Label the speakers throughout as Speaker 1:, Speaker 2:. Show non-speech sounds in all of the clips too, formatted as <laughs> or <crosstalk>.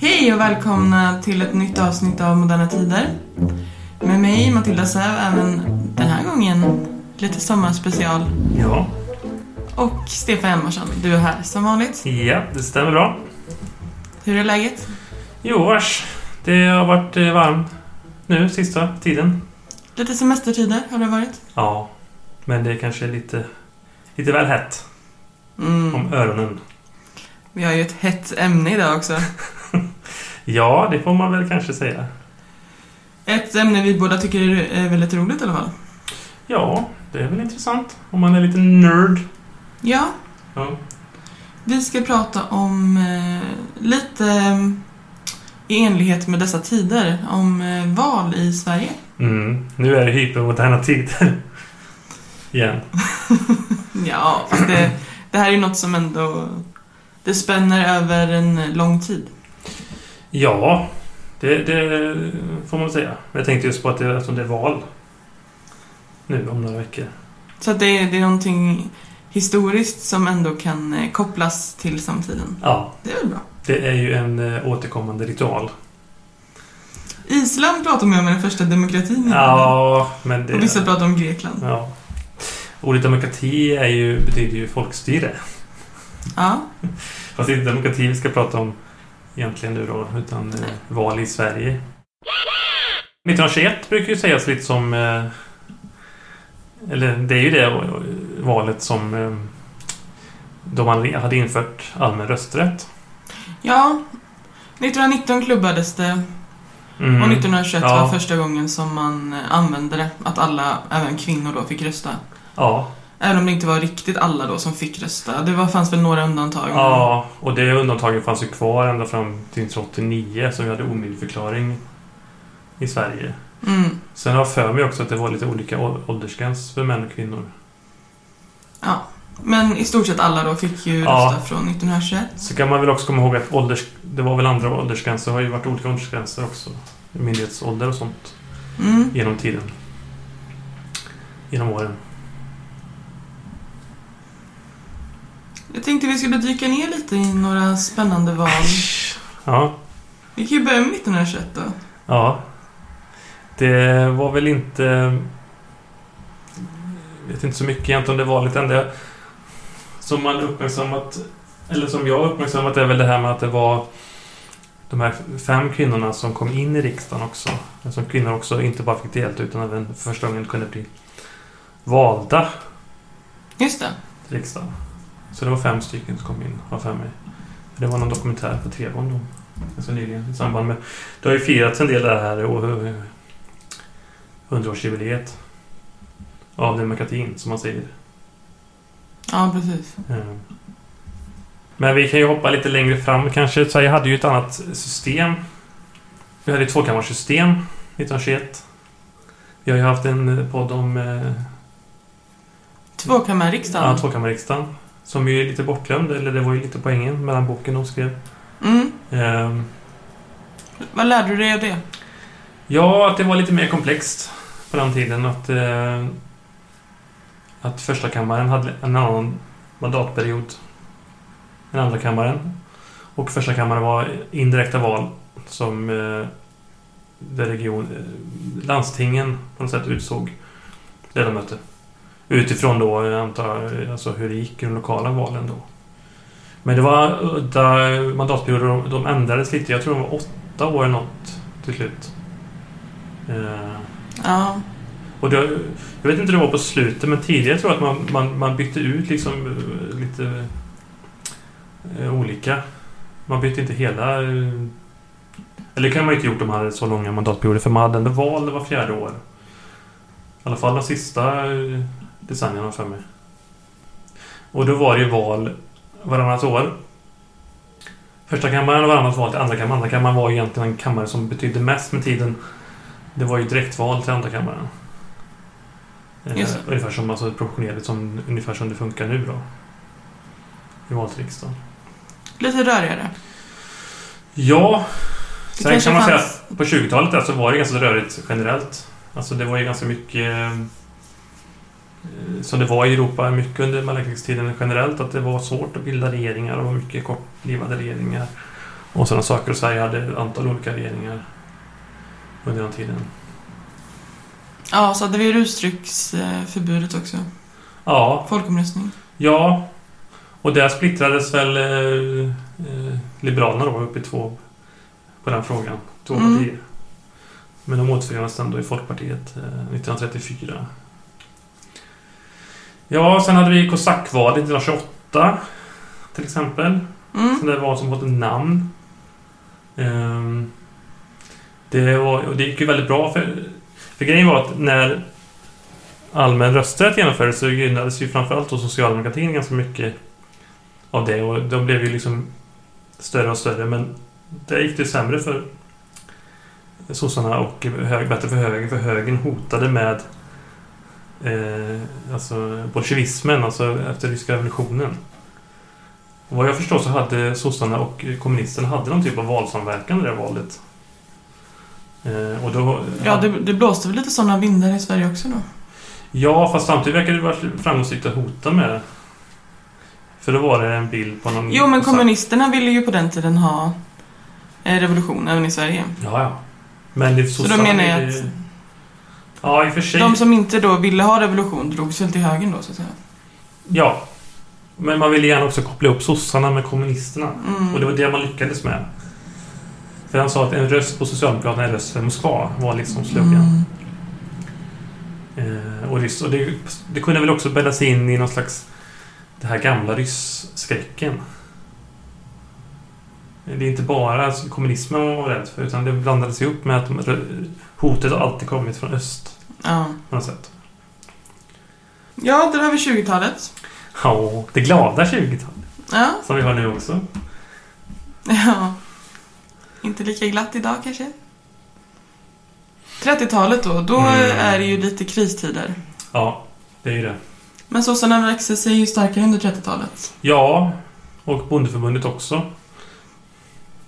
Speaker 1: Hej och välkomna till ett nytt avsnitt av Moderna Tider. Med mig, Matilda Säv, även den här gången lite sommarspecial.
Speaker 2: Ja.
Speaker 1: Och Stefan Hjalmarsson, du är här som vanligt.
Speaker 2: Ja, det stämmer bra.
Speaker 1: Hur är läget?
Speaker 2: Jo, vars. Det har varit eh, varmt nu sista tiden.
Speaker 1: Lite semestertider har det varit.
Speaker 2: Ja, men det är kanske lite, lite väl hett
Speaker 1: Mm.
Speaker 2: om öronen.
Speaker 1: Vi har ju ett hett ämne idag också.
Speaker 2: Ja, det får man väl kanske säga.
Speaker 1: Ett ämne vi båda tycker är väldigt roligt i alla fall.
Speaker 2: Ja, det är väl intressant om man är lite nörd.
Speaker 1: Ja,
Speaker 2: Ja.
Speaker 1: vi ska prata om eh, lite eh, i enlighet med dessa tider, om eh, val i Sverige.
Speaker 2: Mm, nu är det hypermoderna tider. <laughs> Igen.
Speaker 1: Ja, fast det, det här är ju något som ändå... Det spänner över en lång tid.
Speaker 2: Ja, det, det får man säga. Men jag tänkte just på att det, eftersom det är val nu om några veckor.
Speaker 1: Så att det, är- det är någonting historiskt som ändå kan eh, kopplas till samtiden.
Speaker 2: Ja,
Speaker 1: Det är väl bra.
Speaker 2: det är ju en eh, återkommande ritual.
Speaker 1: Island pratar man om är den första demokratin i världen.
Speaker 2: Ja, men det...
Speaker 1: Och vissa pratar om Grekland.
Speaker 2: Ja. Ordet demokrati är ju, betyder ju folkstyre.
Speaker 1: Ja,
Speaker 2: Fast det är inte demokrati vi ska prata om egentligen nu då, utan eh, val i Sverige. 1921 brukar ju sägas lite som... Eh, eller det är ju det eh, valet som... Eh, då man hade infört allmän rösträtt.
Speaker 1: ja. 1919 klubbades det
Speaker 2: Mm.
Speaker 1: och 1921
Speaker 2: Ja.
Speaker 1: var första gången som man eh, använde det. Att alla, även kvinnor då, fick rösta.
Speaker 2: Ja,
Speaker 1: Även om det inte var riktigt alla då som fick rösta. Det var, fanns väl några undantag. men-
Speaker 2: ja, och det undantaget fanns ju kvar ända fram till 1989 som vi hade omyndigförklaring i Sverige.
Speaker 1: Mm.
Speaker 2: Sen har jag för mig också att det var lite olika å- åldersgräns för män och kvinnor.
Speaker 1: Men i stort sett alla då fick ju
Speaker 2: Ja.
Speaker 1: rösta från 1921.
Speaker 2: Så kan man väl också komma ihåg att ålders, det var väl andra åldersgränser. Det har ju varit olika åldersgränser också. Myndighetsålder och sånt
Speaker 1: Mm.
Speaker 2: genom tiden. Genom åren.
Speaker 1: Jag tänkte vi skulle dyka ner lite i några spännande val.
Speaker 2: Ja.
Speaker 1: Vi kan ju börja med 1921 då.
Speaker 2: ja. Det var väl inte... Jag vet inte så mycket egentligen om det valet. Det enda som man uppmärksammat, eller som jag uppmärksammat, är väl det här med att det var de här fem kvinnorna som kom in i riksdagen också. Som kvinnor också inte bara fick delta utan även för första gången kunde bli valda
Speaker 1: Just det.
Speaker 2: till riksdagen. Så det var fem stycken som kom in, har jag för mig. Det var någon dokumentär på TV om dem. Alltså nyligen, i samband med... Det har ju firats en del det här och, eh, hundraårsjubileet av demokratin, som man säger.
Speaker 1: Ja, precis.
Speaker 2: Eh, Men vi kan ju hoppa lite längre fram kanske. Sverige hade ju ett annat system. Vi hade ett tvåkammarsystem 1921. Vi har ju haft en eh, podd om eh, ja,
Speaker 1: Tvåkammarriksdagen.
Speaker 2: tvåkammarriksdagen. Som ju är lite bortglömd, eller det var ju lite poängen mellan boken de skrev.
Speaker 1: Mm.
Speaker 2: Eh,
Speaker 1: Vad lärde du dig av det?
Speaker 2: Ja, att det var lite mer komplext på den tiden. Att, eh, att första kammaren hade en annan mandatperiod än andra kammaren. Och första kammaren var indirekta val som eh, där region, eh, landstingen på något sätt utsåg ledamöter. Utifrån då, jag antar jag, alltså hur det gick i de lokala valen då. Men det var udda mandatperioder, de, de ändrades lite. Jag tror de var åtta år eller något till slut. Eh,
Speaker 1: Ja.
Speaker 2: och det, jag vet inte hur det var på slutet, men tidigare tror jag att man, man, man bytte ut liksom eh, lite eh, olika. Man bytte inte hela... eh, Eller det kan man ju inte gjort om man hade så långa mandatperioder, för man hade ändå val var fjärde år. I alla fall de sista eh, decennierna för mig. Och då var det ju val varannat år. Första kammaren och varannat val till andra kammaren. Andra kammaren var ju egentligen den kammare som betydde mest med tiden. Det var ju direktval till andra kammaren. Eh,
Speaker 1: Just det.
Speaker 2: ungefär som alltså, proportionerligt som, ungefär som det funkar nu då. I val till riksdagen.
Speaker 1: Lite rörigare.
Speaker 2: Ja,
Speaker 1: Det
Speaker 2: sen
Speaker 1: kanske
Speaker 2: kan man säga
Speaker 1: fanns-
Speaker 2: att på 20-talet där så var det ganska rörigt generellt. Alltså det var ju ganska mycket eh, som det var i Europa mycket under mellankrigstiden generellt att det var svårt att bilda regeringar och mycket kortlivade regeringar. Och sådana saker. Och Sverige hade ett antal olika regeringar under den tiden.
Speaker 1: Ja, så hade vi rusdrycksförbudet också.
Speaker 2: Ja,
Speaker 1: Folkomröstning.
Speaker 2: Ja, och där splittrades väl eh, eh, Liberalerna då upp i två på den frågan. Två
Speaker 1: Mm.
Speaker 2: partier. Men de återförenades ändå i Folkpartiet eh, 1934. Ja, sen hade vi kosackvalet 1928 till exempel.
Speaker 1: Mm.
Speaker 2: Sen det var som fått ett namn. Ehm, det, var, och det gick ju väldigt bra för, för grejen var att när allmän rösträtt genomfördes så gynnades ju framförallt då socialdemokratin ganska mycket av det och de blev ju liksom större och större men där gick det sämre för sossarna och hög, bättre för högern för högern hotade med eh, alltså bolsjevismen, alltså efter ryska revolutionen. Och Vad jag förstår så hade sossarna och kommunisterna hade någon typ av valsamverkan i det här valet. Eh, och då,
Speaker 1: Ja, det, det blåste väl lite sådana vindar i Sverige också
Speaker 2: Mm,
Speaker 1: då.
Speaker 2: Ja, fast samtidigt verkar det vara framgångsrikt att hota med det. För då var det en bild på någon...
Speaker 1: Jo, men
Speaker 2: på sa-
Speaker 1: kommunisterna ville ju på den tiden ha eh, revolution även i Sverige.
Speaker 2: Ja, ja. Men det,
Speaker 1: Så då menar jag att
Speaker 2: Ja, i och för sig.
Speaker 1: de som inte då ville ha revolution drogs väl till högern då, så att säga.
Speaker 2: Ja. Men man ville gärna också koppla upp sossarna med kommunisterna.
Speaker 1: Mm.
Speaker 2: Och det var det man lyckades med. För han sa att en röst på Socialdemokraterna är en röst för Moskva, var liksom slogan.
Speaker 1: Mm.
Speaker 2: Eh, och det, och det, det kunde väl också bäddas in i någon slags... Det här gamla rysskräcken. Det är inte bara alltså, kommunismen man var rädd för, utan det blandades ihop med att de, rö- hotet har alltid kommit från öst.
Speaker 1: Ja.
Speaker 2: På något sätt.
Speaker 1: ja, där har vi 20-talet.
Speaker 2: Ja, det glada 20-talet
Speaker 1: Ja.
Speaker 2: som vi har nu också.
Speaker 1: ja. Inte lika glatt idag kanske. 30-talet då, då
Speaker 2: Mm.
Speaker 1: är det ju lite kristider.
Speaker 2: Ja, det är ju det.
Speaker 1: Men sossarna växer sig ju starkare under 30-talet.
Speaker 2: Ja, och Bondeförbundet också.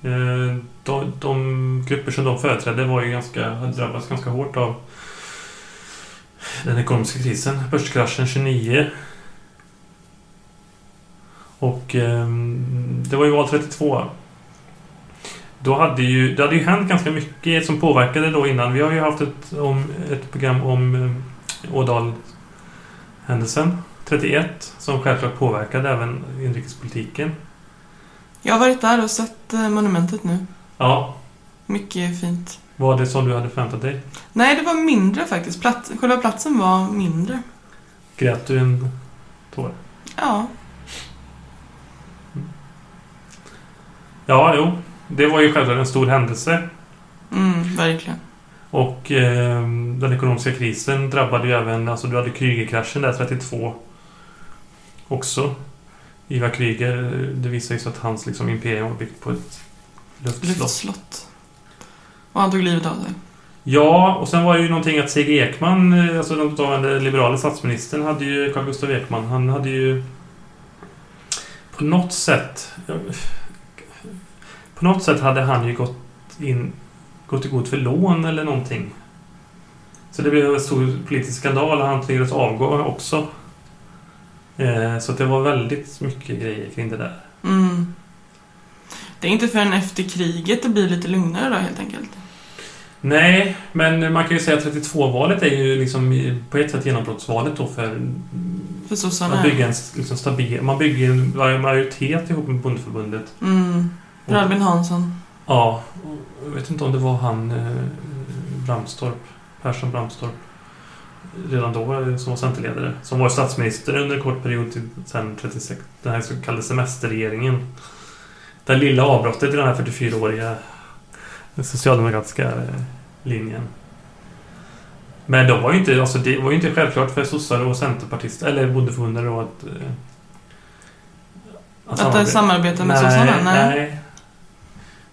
Speaker 2: Eh, De, de grupper som de företrädde var ju ganska, hade drabbats ganska hårt av den ekonomiska krisen. Börskraschen 29. Och eh, det var ju val 32. Då hade ju, det hade ju hänt ganska mycket som påverkade då innan. Vi har ju haft ett, om, ett program om eh, Ådalhändelsen. 31 som självklart påverkade även inrikespolitiken.
Speaker 1: Jag har varit där och sett eh, monumentet nu.
Speaker 2: Ja,
Speaker 1: Mycket fint.
Speaker 2: var det som du hade förväntat dig?
Speaker 1: Nej, det var mindre faktiskt. Plats, själva platsen var mindre.
Speaker 2: Grät du en tår?
Speaker 1: Ja.
Speaker 2: Ja, jo. Det var ju självklart en stor händelse.
Speaker 1: Mm, verkligen.
Speaker 2: Och eh, den ekonomiska krisen drabbade ju även... Alltså du hade Krügerkraschen där 32 också. Ivar Krüger, det visar ju sig att hans liksom, imperium var byggt på ett luftslott.
Speaker 1: Luftslott. Och han tog livet av sig.
Speaker 2: Ja, och sen var det ju någonting att C.G. Ekman, eh, alltså den dåvarande liberala statsministern, hade ju Carl Gustav Ekman, han hade ju på något sätt på något sätt hade han ju gått in gått i god för lån eller någonting. Så det blev en stor politisk skandal och han tvingades avgå också. Eh, Så att det var väldigt mycket grejer kring det där.
Speaker 1: Mm. Det är inte förrän efter kriget det blir lite lugnare då helt enkelt.
Speaker 2: Nej, men man kan ju säga att 32-valet är ju liksom i- på ett sätt genombrottsvalet då för
Speaker 1: För sossarna.
Speaker 2: Man bygger en s- liksom, stabil... Man bygger en var- majoritet ihop med bondförbundet.
Speaker 1: Mm. Per Albin Hansson.
Speaker 2: Ja. Jag vet inte om det var han eh, Bramstorp, Persson Bramstorp, redan då eh, som var centerledare. Som var statsminister under en kort period till sen 36. Den här så kallade semesterregeringen. Det här lilla avbrottet i den här 44-åriga socialdemokratiska eh, linjen. Men de var ju inte, alltså det var ju inte självklart för sossar och centerpartister, eller bondeförbundare då att... eh,
Speaker 1: Att samarbeta, samarbeta med sossarna? Nej.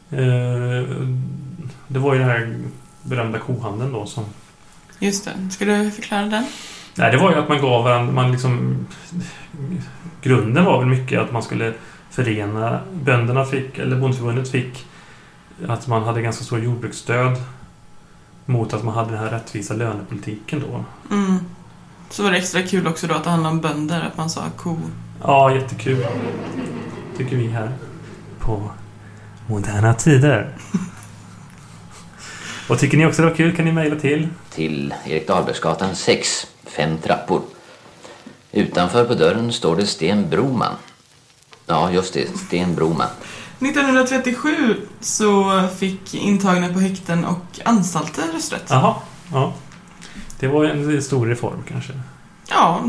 Speaker 2: nej. Eh, det var ju den här berömda kohandeln då som...
Speaker 1: Just det. Ska du förklara den?
Speaker 2: Nej, det var ju att man gav varandra... Man liksom, grunden var väl mycket att man skulle förena... Bönderna fick, eller bondförbundet fick, att man hade ganska stor jordbruksstöd mot att man hade den här rättvisa lönepolitiken då.
Speaker 1: Mm. Så var det extra kul också då att det handlade om bönder, att man sa ko.
Speaker 2: Ja, jättekul. Tycker vi här på Moderna tider. Och tycker ni också det var kul kan ni mejla till
Speaker 3: till Erik Dahlbergsgatan 6, fem trappor. Utanför på dörren står det Sten Broman. Ja, just det, Sten Broman.
Speaker 1: 1937 så fick intagna på häkten och anstalter rösträtt. Ja.
Speaker 2: Jaha, ja. Det var en stor reform kanske.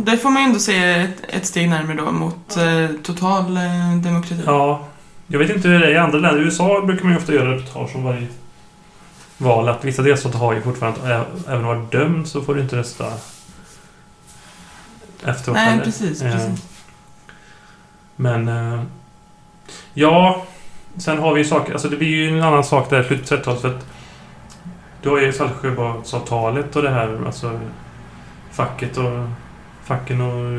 Speaker 1: det får man ju ändå se ett, ett steg närmare då mot eh, total eh, demokrati.
Speaker 2: Ja. Jag vet inte hur det är i andra länder. I USA brukar man ju ofta göra reportage om varje val. Att vissa delstater har ju fortfarande att ä- även om du är dömd så får du inte rösta efteråt.
Speaker 1: Nej,
Speaker 2: eller?
Speaker 1: precis,
Speaker 2: Eh,
Speaker 1: precis.
Speaker 2: Men... eh, Ja, sen har vi ju saker... Alltså det blir ju en annan sak där i slutet på 30-talet för att... Du har ju Saltsjöbadsavtalet och det här alltså... Facket och... Facken och...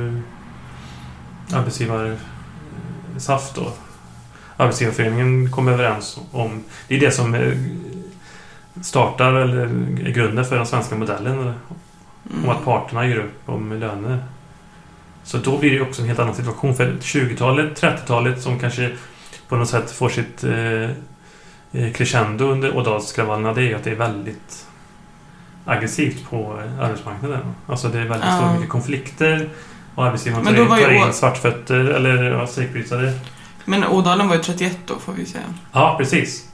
Speaker 2: eh, Arbetsgivare... eh, SAF då. Arbetsgivarföreningen kom överens om... Det är det som eh, startar eller är grunden för den svenska modellen. eller? om
Speaker 1: Mm.
Speaker 2: att parterna gör upp om löner. Så då blir det ju också en helt annan situation. För 20-talet, 30-talet som kanske på något sätt får sitt eh, eh, crescendo under Ådalskravallerna, det är ju att det är väldigt aggressivt på eh, arbetsmarknaden. Alltså det är väldigt
Speaker 1: Ja.
Speaker 2: stora mycket konflikter och arbetsgivaren
Speaker 1: Men
Speaker 2: tar
Speaker 1: då
Speaker 2: in-
Speaker 1: var ju
Speaker 2: tar
Speaker 1: Å-
Speaker 2: in svartfötter eller ja, strejkbrytare.
Speaker 1: Men Ådalen var ju 31 då, får vi säga.
Speaker 2: Ja, precis.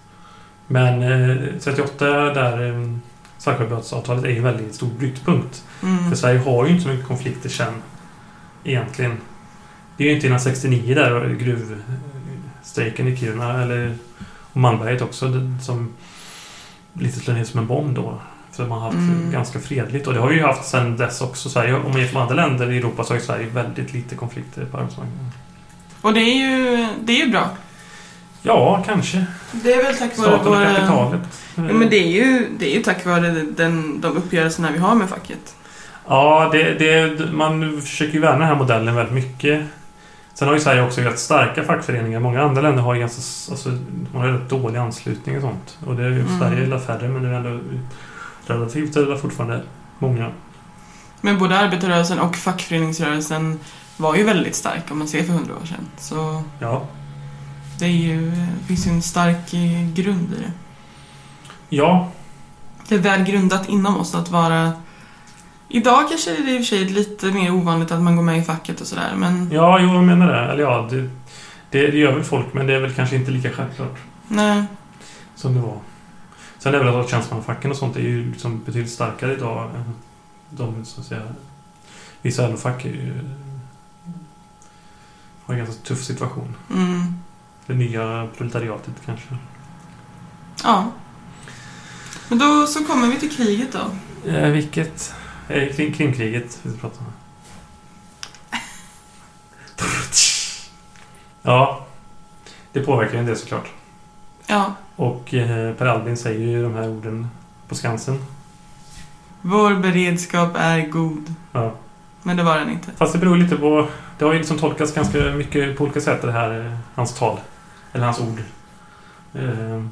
Speaker 2: Men eh, 38 där eh, Saltsjöbadsavtalet är ju en väldigt stor brytpunkt.
Speaker 1: Mm.
Speaker 2: För Sverige har ju inte så mycket konflikter sen. Egentligen. Det är ju inte innan 69 där och gruvstrejken i Kiruna eller och Malmberget också det- som lite slår ner som en bomb då. För man har haft
Speaker 1: Mm.
Speaker 2: ganska fredligt och det har vi ju haft sen dess också. Sverige, om man jämför med andra länder i Europa så har ju Sverige väldigt lite konflikter på arbetsmarknaden.
Speaker 1: Och det är ju, det är ju bra.
Speaker 2: Ja, kanske.
Speaker 1: Det är väl tack vare
Speaker 2: Staten och kapitalet.
Speaker 1: Ja, men det är ju, det är ju tack vare den, de uppgörelserna vi har med facket.
Speaker 2: Ja, det, det, man försöker ju värna den här modellen väldigt mycket. Sen har ju Sverige också rätt starka fackföreningar. Många andra länder har ju ganska, s- alltså, man har rätt dålig anslutning och sånt. Och det är ju
Speaker 1: Mm.
Speaker 2: Sverige är lite färre, men det är ändå relativt är det fortfarande många.
Speaker 1: Men både arbetarrörelsen och fackföreningsrörelsen var ju väldigt stark om man ser för hundra år sedan. Så
Speaker 2: Ja.
Speaker 1: det är ju, det finns ju en stark eh, grund i det.
Speaker 2: Ja,
Speaker 1: Det är väl grundat inom oss att vara... Idag kanske det är i och för sig lite mer ovanligt att man går med i facket och sådär, men
Speaker 2: ja, jo, jag menar det. Eller ja, det, det, det gör väl folk, men det är väl kanske inte lika självklart
Speaker 1: nej.
Speaker 2: som det var. Sen är det väl att tjänstemannafacken och sånt är ju liksom betydligt starkare idag än de, så att säga. Vissa LO-fack är ju, har en ganska tuff situation.
Speaker 1: Mm,
Speaker 2: Det nya proletariatet kanske.
Speaker 1: ja. Men då så kommer vi till kriget då.
Speaker 2: Eh, vilket? Eh, krim, krimkriget vi pratar <laughs> om. ja, det påverkar ju en del såklart.
Speaker 1: Ja.
Speaker 2: Och eh, Per Albin säger ju de här orden på Skansen.
Speaker 1: Vår beredskap är god.
Speaker 2: Ja.
Speaker 1: Men det var den inte.
Speaker 2: Fast det beror lite på... Det har ju liksom tolkats ganska mycket på olika sätt det här, eh, hans tal. Eller hans ord. Eh,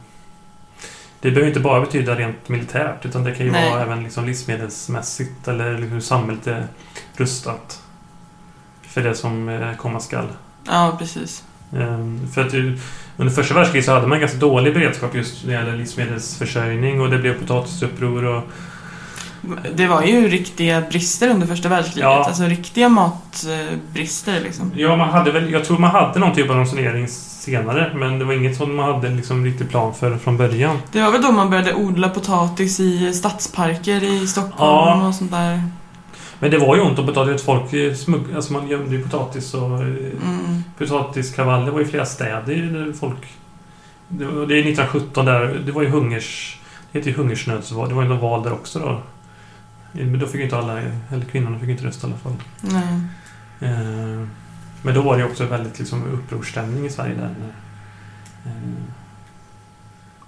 Speaker 2: Det behöver ju inte bara betyda rent militärt utan det kan ju
Speaker 1: Nej.
Speaker 2: vara även liksom livsmedelsmässigt eller liksom hur samhället är rustat. För det som eh, komma skall.
Speaker 1: Ja, precis.
Speaker 2: Ehm, För att ju- under första världskriget så hade man ganska dålig beredskap just när det gäller livsmedelsförsörjning och det blev potatisuppror och...
Speaker 1: Det var ju riktiga brister under första världskriget.
Speaker 2: Ja.
Speaker 1: Alltså riktiga matbrister liksom.
Speaker 2: Ja, man hade väl, jag tror man hade någon typ av ransonering senare, men det var inget som man hade liksom riktig plan för från början.
Speaker 1: Det var väl då man började odla potatis i stadsparker i Stockholm
Speaker 2: Ja.
Speaker 1: och sånt där.
Speaker 2: Men det var ju ont om potatis. Folk eh, smugg, alltså man gömde ju potatis och eh,
Speaker 1: Mm.
Speaker 2: potatiskravaller var i flera städer där folk... Det, var, det är 1917 där, det var ju hungers... Det heter ju hungersnödsval. Det var ju något val där också då. Eh, Men då fick ju inte alla, eller kvinnorna fick ju inte rösta i alla fall.
Speaker 1: Nej.
Speaker 2: Eh, Men då var det ju också väldigt liksom upprorsstämning i Sverige där. när, eh,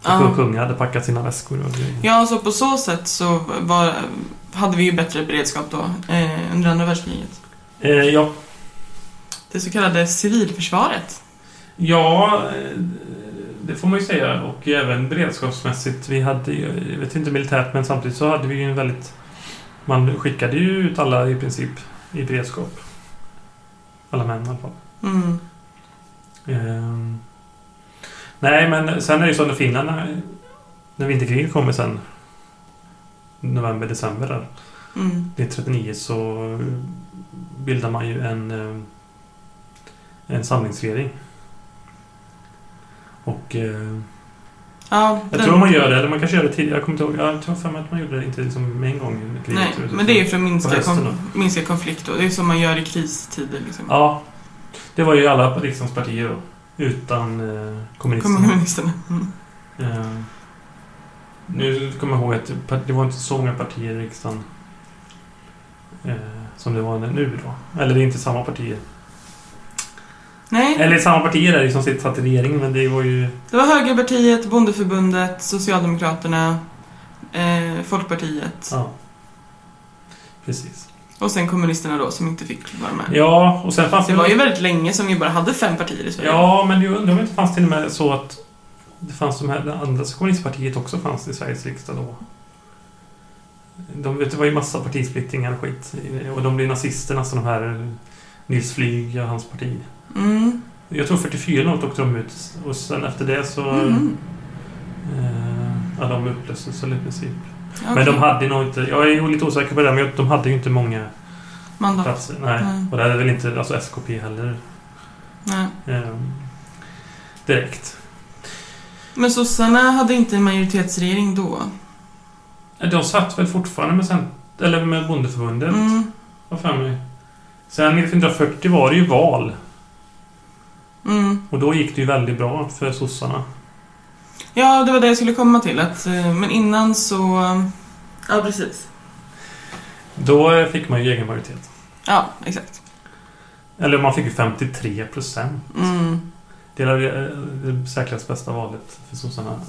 Speaker 1: Ja.
Speaker 2: Och kungar hade packat sina väskor och grejer.
Speaker 1: Ja, så på så sätt så var, hade vi ju bättre beredskap då eh, under andra världskriget.
Speaker 2: Eh, ja.
Speaker 1: Det så kallade civilförsvaret.
Speaker 2: ja, eh, det får man ju säga. Och även beredskapsmässigt. Vi hade ju, jag vet inte militärt, men samtidigt så hade vi ju en väldigt... Man skickade ju ut alla i princip i beredskap. Alla män i alla fall.
Speaker 1: Mm.
Speaker 2: Ehm, Nej, men sen är det ju så när finnarna... När vinterkriget kommer sen. November, december där.
Speaker 1: Mm.
Speaker 2: 1939 så bildar man ju en, eh, en samlingsregering. Och eh,
Speaker 1: Ja,
Speaker 2: jag
Speaker 1: den-
Speaker 2: tror man gör det, eller man kanske gör det tidigare. Jag kommer inte ihåg. Jag tror för mig att man gjorde det inte liksom med en gång i kriget.
Speaker 1: Nej,
Speaker 2: utan-
Speaker 1: men det är ju för att minska,
Speaker 2: hösten
Speaker 1: kon- minska konflikt då. Det är som man gör i kristider liksom.
Speaker 2: Ja. Det var ju alla riksdagens partier då. Utan eh, kommunisterna.
Speaker 1: Kommunisterna. Mm.
Speaker 2: Eh, nu kommer jag ihåg att par- det var inte så många partier i riksdagen eh, som det var nu då. Eller det är inte samma partier.
Speaker 1: Nej,
Speaker 2: Eller samma partier där som sitter- satt i regeringen, men det var ju...
Speaker 1: det var Högerpartiet, Bondeförbundet, Socialdemokraterna, eh, Folkpartiet
Speaker 2: Ja. Precis.
Speaker 1: och sen kommunisterna då som inte fick vara med.
Speaker 2: Ja, och sen fanns
Speaker 1: Det var ju väldigt länge som vi bara hade fem partier i Sverige.
Speaker 2: Ja, men jag undrar om det inte fanns till och med så att det fanns de här, det andra kommunistpartiet också fanns i Sveriges riksdag då. De, vet, det var ju massa partisplittringar och skit. Och de blev nazisterna, alltså de här eh, Nils Flyg och hans parti.
Speaker 1: Mm.
Speaker 2: Jag tror 44 något åkte de ut och sen efter det så...
Speaker 1: Mhm.
Speaker 2: Eh, ja, de upplöstes väl i princip.
Speaker 1: Okej.
Speaker 2: Men de hade nog inte... Jag är ju lite osäker på det, men jag- de hade ju inte många
Speaker 1: Mandat.
Speaker 2: platser. Nej.
Speaker 1: Nej.
Speaker 2: Och det hade väl inte alltså SKP heller
Speaker 1: Nej.
Speaker 2: eh, direkt.
Speaker 1: Men sossarna hade inte en majoritetsregering då.
Speaker 2: De satt väl fortfarande med, cent- eller med Bondeförbundet,
Speaker 1: Mm.
Speaker 2: har för mig. Sen 1940 var det ju val.
Speaker 1: Mm.
Speaker 2: Och då gick det ju väldigt bra för sossarna.
Speaker 1: Ja, det var det jag skulle komma till. Att, eh, men innan så... Ja, precis.
Speaker 2: Då eh, fick man ju egen majoritet.
Speaker 1: Ja, exakt.
Speaker 2: Eller man fick ju 53 procent.
Speaker 1: Mm.
Speaker 2: Det är det, det säkrast bästa valet för sossarna.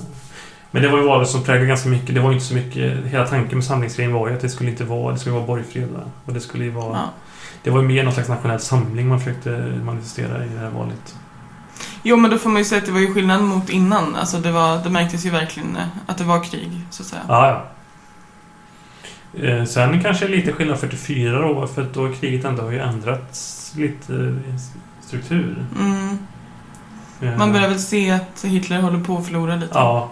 Speaker 2: Men det var ju valet som präglade ganska mycket. Det var ju inte så mycket... Hela tanken med samlingsregeringen var ju att det skulle inte vara... Det skulle vara borgfred va? Och det skulle ju vara...
Speaker 1: Ja.
Speaker 2: Det var ju mer någon slags nationell samling man försökte manifestera i det här valet.
Speaker 1: Jo, men då får man ju säga att det var ju skillnad mot innan. Alltså, det, var, det märktes ju verkligen eh, att det var krig, så att säga.
Speaker 2: Ja, ja. Eh, Sen kanske lite skillnad 44 då, för att då har kriget ändå har ju ändrats lite i s- struktur.
Speaker 1: Mm.
Speaker 2: Eh,
Speaker 1: Man börjar väl se att Hitler håller på att förlora lite.
Speaker 2: Ja.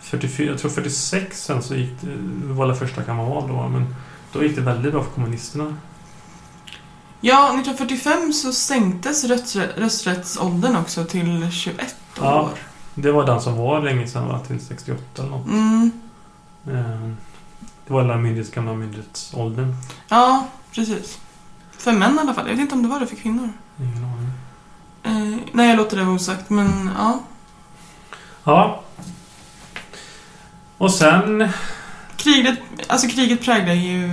Speaker 2: 44, jag tror 46 sen så gick det, det var det första kammarval då, men då gick det väldigt bra för kommunisterna.
Speaker 1: Ja, 1945 så sänktes röstre- rösträttsåldern också till 21
Speaker 2: Ja.
Speaker 1: år.
Speaker 2: Det var den som var länge sedan, va? Till 68 eller något.
Speaker 1: Mm.
Speaker 2: Eh, Det var den myndighets, gamla myndighetsåldern.
Speaker 1: Ja, precis. För män i alla fall. Jag vet inte om det var det för kvinnor.
Speaker 2: Ingen aning.
Speaker 1: Eh, nej, jag låter det vara osagt, men ja.
Speaker 2: Ja. Och sen
Speaker 1: Kriget, alltså kriget präglar ju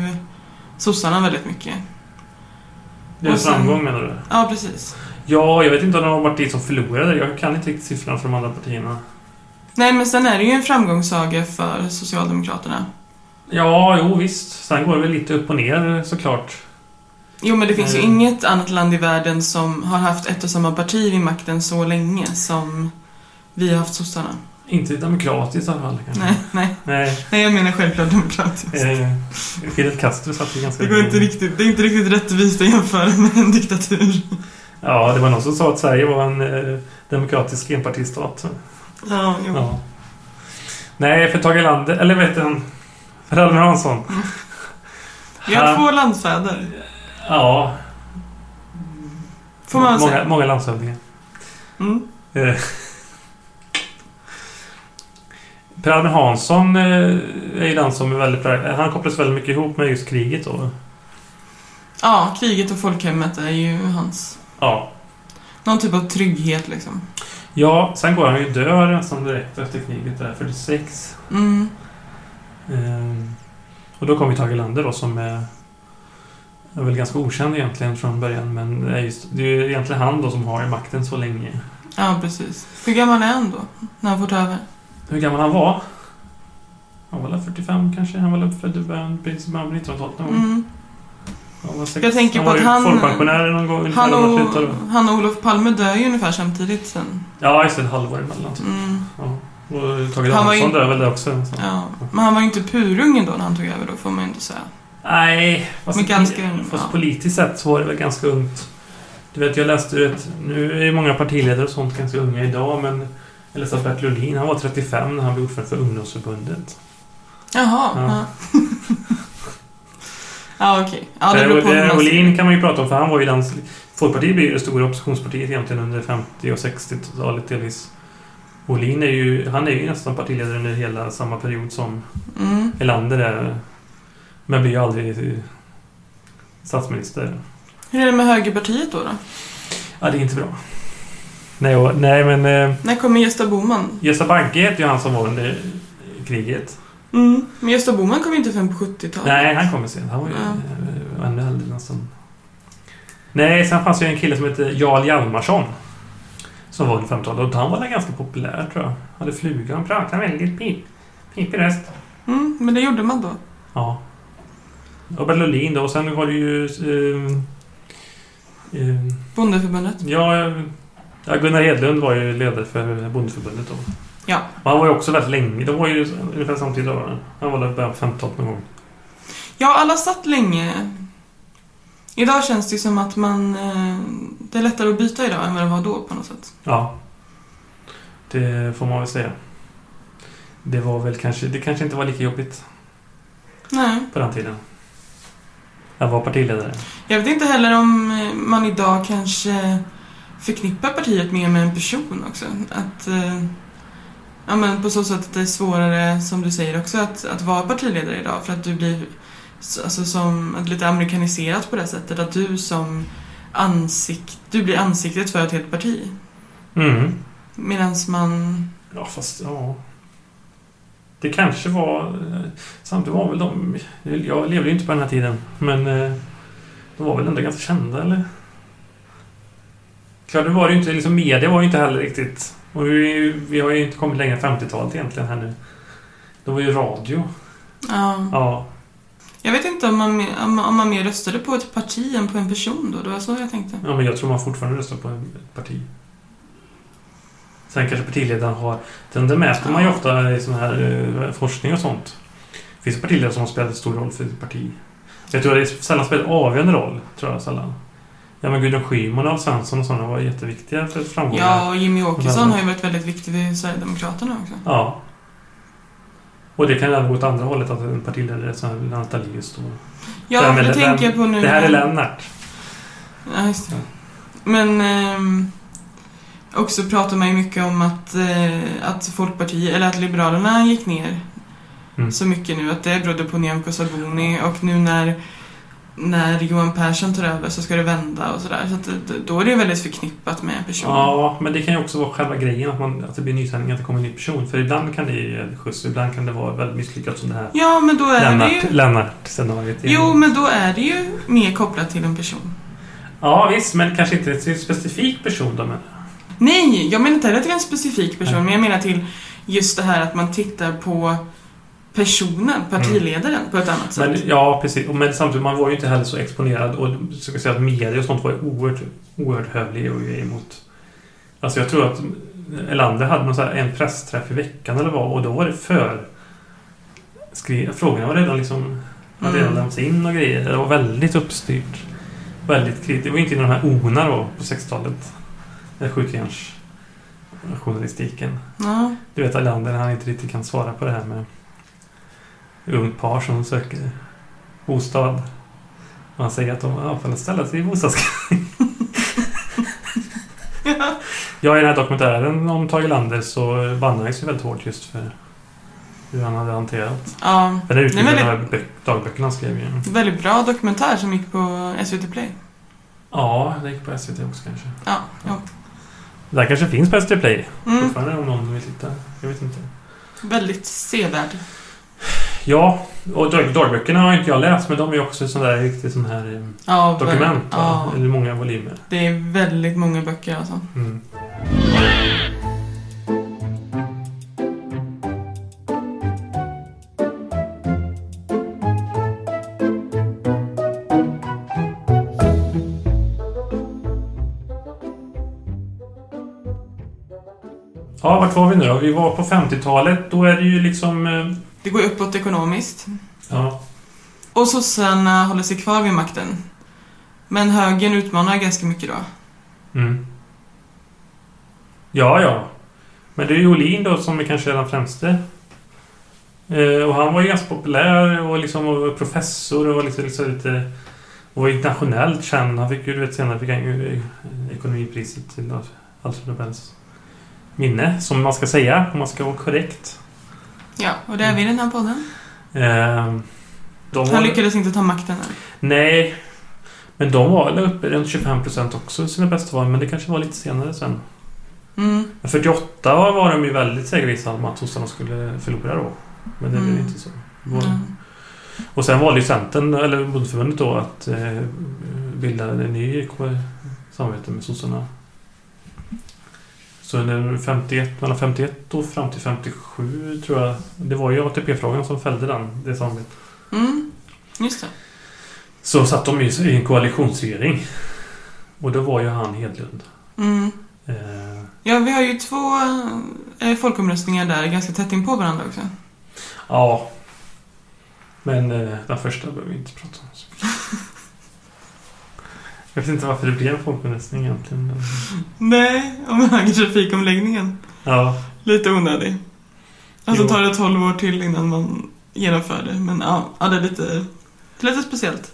Speaker 1: sossarna väldigt mycket.
Speaker 2: Det
Speaker 1: Och sen-
Speaker 2: framgång menar du?
Speaker 1: Ja, precis.
Speaker 2: Ja, jag vet inte om det var partiet som förlorade. Jag kan inte riktigt siffrorna för de andra partierna.
Speaker 1: Nej, men sen är det ju en framgångssaga för Socialdemokraterna.
Speaker 2: Ja, jo visst. Sen går det väl lite upp och ner såklart.
Speaker 1: Jo, men det finns ju
Speaker 2: Mm.
Speaker 1: inget annat land i världen som har haft ett och samma parti vid makten så länge som vi har haft sossarna.
Speaker 2: Inte demokratiskt i alla fall. kanske.
Speaker 1: Nej, nej.
Speaker 2: Nej.
Speaker 1: Nej, jag menar självklart demokratiskt.
Speaker 2: Eh, Fidel Castro satt ju ganska
Speaker 1: Det, går inte riktigt, det är inte riktigt rättvist att jämföra med en diktatur.
Speaker 2: Ja, det var någon som sa att Sverige var en eh, demokratisk enpartistat.
Speaker 1: Ja, jo.
Speaker 2: Ja. Nej, för Tage Erlander... Eller vet du han? För Albin Hansson.
Speaker 1: Vi har
Speaker 2: Han-
Speaker 1: två landsfäder,
Speaker 2: Ja.
Speaker 1: får man väl
Speaker 2: många,
Speaker 1: säga.
Speaker 2: många landshövdingar.
Speaker 1: Mm.
Speaker 2: Eh. Per Albin Hansson eh, är ju den som är väldigt... pra- Han kopplas väldigt mycket ihop med just kriget då.
Speaker 1: Ja, kriget och folkhemmet är ju hans...
Speaker 2: Ja.
Speaker 1: Någon typ av trygghet liksom.
Speaker 2: Ja, sen går han ju och dör nästan direkt efter kriget där, 46.
Speaker 1: Mm.
Speaker 2: Eh, och då kommer ju Tage Erlander då som är, är väl ganska okänd egentligen från början men det är, just, det är ju egentligen han då som har makten så länge.
Speaker 1: Ja, precis. Hur gammal är han då? När han får ta över?
Speaker 2: Hur gammal han var? Han var väl 45 kanske? Han var väl född i början på 1900-talet någon gång.
Speaker 1: Mm.
Speaker 2: Han var sex-
Speaker 1: Jag tänker på
Speaker 2: var
Speaker 1: att
Speaker 2: ju
Speaker 1: han-
Speaker 2: folkpensionär någon gång
Speaker 1: Han,
Speaker 2: när
Speaker 1: och,
Speaker 2: de slutade.
Speaker 1: han och Olof Palme dör ju ungefär samtidigt sen.
Speaker 2: Ja, just det. Ett halvår emellan. typ.
Speaker 1: Mm.
Speaker 2: Ja. Och Tage
Speaker 1: Han var
Speaker 2: Danielsson
Speaker 1: ju-
Speaker 2: dör väl det också. Så.
Speaker 1: Ja. Men han var ju inte purungen då när han tog över då, får man ju inte säga.
Speaker 2: Nej, fast,
Speaker 1: Men ganska ung,
Speaker 2: fast
Speaker 1: ja.
Speaker 2: politiskt sett så var det väl ganska ungt. Du vet, jag läste ju ett... Nu är ju många partiledare och sånt ganska unga idag, men Jag läste att Bert Lundin, han var 35 när han blev ordförande för ungdomsförbundet.
Speaker 1: Jaha. Ja, <laughs>
Speaker 2: Ja.
Speaker 1: ja okej. Ja, det
Speaker 2: Per
Speaker 1: beror på hur
Speaker 2: Per
Speaker 1: man
Speaker 2: Olin
Speaker 1: ser
Speaker 2: kan man ju prata om, för han var ju lands... Folkpartiet blev ju det stora oppositionspartiet egentligen under 50 och 60-talet delvis. Olin är ju, han är ju nästan partiledare under hela samma period som
Speaker 1: det. Mm.
Speaker 2: Erlander är. Men blir ju aldrig statsminister.
Speaker 1: Hur är det med Högerpartiet då? då?
Speaker 2: Ja, det är inte bra. Nej, och, nej men eh,
Speaker 1: När kommer Gösta Bohman?
Speaker 2: Gösta Bagge heter ju han som var under kriget.
Speaker 1: Mm. Men Gösta Bohman kom ju inte förrän på 70-talet.
Speaker 2: Nej, han kommer sen. Han var ju eh, ännu äldre nästan. Nej, sen fanns ju en kille som hette Jarl Hjalmarsson. Som var under 50-talet. Och han var väl ganska populär, tror jag. Han hade fluga. Han pratade väldigt pip. Pipig röst.
Speaker 1: Mm, men det gjorde man då.
Speaker 2: Ja. Och Bertil Ohlin då. Och sen var det ju... Eh, eh,
Speaker 1: Bondeförbundet.
Speaker 2: ja, ja, Gunnar Hedlund var ju ledare för Bondeförbundet då.
Speaker 1: Ja.
Speaker 2: Och han var ju också väldigt länge. De var ju ungefär samtidigt. då, va? Han var där på 50-talet någon gång.
Speaker 1: Ja, alla satt länge. Idag känns det ju som att man... eh, Det är lättare att byta idag än vad det var då på något sätt.
Speaker 2: Ja. Det får man väl säga. Det var väl kanske... Det kanske inte var lika jobbigt
Speaker 1: Nej.
Speaker 2: på den tiden. Att vara partiledare.
Speaker 1: Jag vet inte heller om eh, man idag kanske förknippar partiet mer med en person också. Att... eh, Ja, men på så sätt att det är svårare, som du säger också, att, att vara partiledare idag. För att du blir s- alltså, som, att lite amerikaniserat på det sättet. Att du som ansikt... Du blir ansiktet för ett helt parti.
Speaker 2: Mm.
Speaker 1: Medan man...
Speaker 2: Ja, fast ja... Det kanske var... eh, Samtidigt var väl de... Jag levde ju inte på den här tiden, men... eh, De var väl ändå ganska kända, eller? Klart, det var ju inte... Liksom, media var ju inte heller riktigt... Och vi, vi har ju inte kommit längre än 50-talet egentligen här nu. Det var ju radio.
Speaker 1: Ja.
Speaker 2: Ja.
Speaker 1: Jag vet inte om man, mer- om, om man mer röstade på ett parti än på en person då. Det var så jag tänkte.
Speaker 2: Ja, men jag tror man fortfarande röstar på ett parti. Sen kanske partiledaren har... Den det mäter man ju ofta i sån här eh, forskning och sånt. Det finns partiledare som har spelat stor roll för sitt parti. Jag tror att det sällan spelar avgörande roll. Tror jag sällan. Ja, men Gudrun Schyman och Alf Svensson och sådana var jätteviktiga för framgångar.
Speaker 1: Ja, och Jimmy Åkesson har ju varit väldigt viktig för Sverigedemokraterna också.
Speaker 2: Ja. Och det kan även gå åt andra hållet, att en partiledare som Lennart Daléus då.
Speaker 1: Ja,
Speaker 2: Vem
Speaker 1: för
Speaker 2: är
Speaker 1: det
Speaker 2: det- vem-
Speaker 1: tänker jag på nu.
Speaker 2: Det här är Lennart.
Speaker 1: Ja, just det. Men... ehm, också pratar man ju mycket om att, eh, att Folkpartiet, eller att Liberalerna gick ner
Speaker 2: Mm.
Speaker 1: så mycket nu. Att det berodde på Nyamko Sabuni och nu när, när Johan Persson tar över så ska det vända och sådär. Så att, det- då är det väldigt förknippat med en person.
Speaker 2: Ja, men det kan ju också vara själva grejen att, man, att det blir nysändning, att det kommer en ny person. För ibland kan det ge en skjuts, ibland kan det vara väldigt misslyckat som det här
Speaker 1: ja men då är det ju...
Speaker 2: Lennart- Lennart-scenariot.
Speaker 1: Jo, men då är det ju mer kopplat till en person.
Speaker 2: Ja, visst, men kanske inte till en specifik person då, men...
Speaker 1: Nej, jag menar inte heller till en specifik person,
Speaker 2: Nej.
Speaker 1: men jag menar till just det här att man tittar på personen,
Speaker 2: Mm.
Speaker 1: partiledaren, på ett annat sätt.
Speaker 2: men ja, precis. Och Men samtidigt, man var ju inte heller så exponerad. Och så ska jag säga att media och sånt var ju oerhört, oerhört hövlig och ju emot... Alltså jag tror att Erlander hade någon så här, en pressträff i veckan eller vad, och då var det för... Skri... Frågorna var redan liksom... Hade redan
Speaker 1: Mm.
Speaker 2: lämnats in och grejer. Det var väldigt uppstyrt. Väldigt kritiskt. Det var inte inom de här ONA då, på 60-talet. Den skjutjärnsjournalistiken.
Speaker 1: Ja.
Speaker 2: Du vet Erlander, han inte riktigt kan svara på det här med ungt par som söker bostad. Och han säger att de ja, får ställa sig i bostadskö.
Speaker 1: <laughs>
Speaker 2: ja, i den här dokumentären om Tage Erlander så bannades ju väldigt hårt just för hur han hade hanterat.
Speaker 1: ja.
Speaker 2: För det
Speaker 1: Nej,
Speaker 2: utgjorde
Speaker 1: men
Speaker 2: de
Speaker 1: det-
Speaker 2: här bö- dagböckerna han skrev ju.
Speaker 1: Väldigt bra dokumentär som gick på SVT Play.
Speaker 2: Ja, det gick på SVT också kanske.
Speaker 1: Ja. ja.
Speaker 2: Det här kanske finns på SVT Play
Speaker 1: Mm.
Speaker 2: fortfarande om någon vill titta. Jag vet inte.
Speaker 1: Väldigt sevärd.
Speaker 2: Ja, och dag- dagböckerna har inte jag läst men de är ju också sån där riktigt sån här eh,
Speaker 1: Ja, väl-
Speaker 2: dokument.
Speaker 1: Ja.
Speaker 2: Ja. Eller många volymer.
Speaker 1: Det är väldigt många böcker alltså.
Speaker 2: Mm. Ja, vart var vi nu då? Vi var på 50-talet. Då är det ju liksom... eh,
Speaker 1: Det går ju uppåt ekonomiskt.
Speaker 2: Ja,
Speaker 1: Och sossarna håller sig kvar vid makten. Men högern utmanar ganska mycket då.
Speaker 2: Mm. Ja, ja. Men det är ju Olin då som är kanske den främste. Eh, och han var ju ganska populär och liksom var professor och var liksom, liksom lite... Och var internationellt känd. Han fick ju, du vet, senare fick han ju eh, ekonomipriset till Alf- Alfred Nobels minne. Som man ska säga, om man ska vara korrekt.
Speaker 1: Ja, och det är vi i den här podden.
Speaker 2: Eh, de var-
Speaker 1: Han lyckades inte ta makten än.
Speaker 2: Nej. Men de var väl uppe runt 25% också i sina bästa val, men det kanske var lite senare sen.
Speaker 1: Mm.
Speaker 2: Men 48 var de ju väldigt säkervissade om att sossarna skulle förlora då. Men det blev
Speaker 1: Mm.
Speaker 2: ju inte så. Vår-
Speaker 1: Ja.
Speaker 2: Och sen valde ju Centern, eller Bondförbundet då, att eh, bilda en ny ko- samarbete med sossarna. Så när 51, mellan 51 och fram till 57 tror jag. Det var ju ATP-frågan som fällde den, det samarbetet.
Speaker 1: Mm. Just det.
Speaker 2: Så satt de i i en koalitionsregering. Och då var ju han Hedlund.
Speaker 1: Mm.
Speaker 2: Eh,
Speaker 1: Ja, vi har ju två eh, folkomröstningar där ganska tätt in på varandra också.
Speaker 2: ja. Men eh, den första behöver vi inte prata om. så mycket. Jag vet inte varför det blev en folkomröstning egentligen. men-
Speaker 1: Nej, om högertrafikomläggningen.
Speaker 2: Ja,
Speaker 1: Lite onödig. Alltså
Speaker 2: Jo.
Speaker 1: tar det 12 år till innan man genomför det. Men ja, ja det är lite, lite speciellt.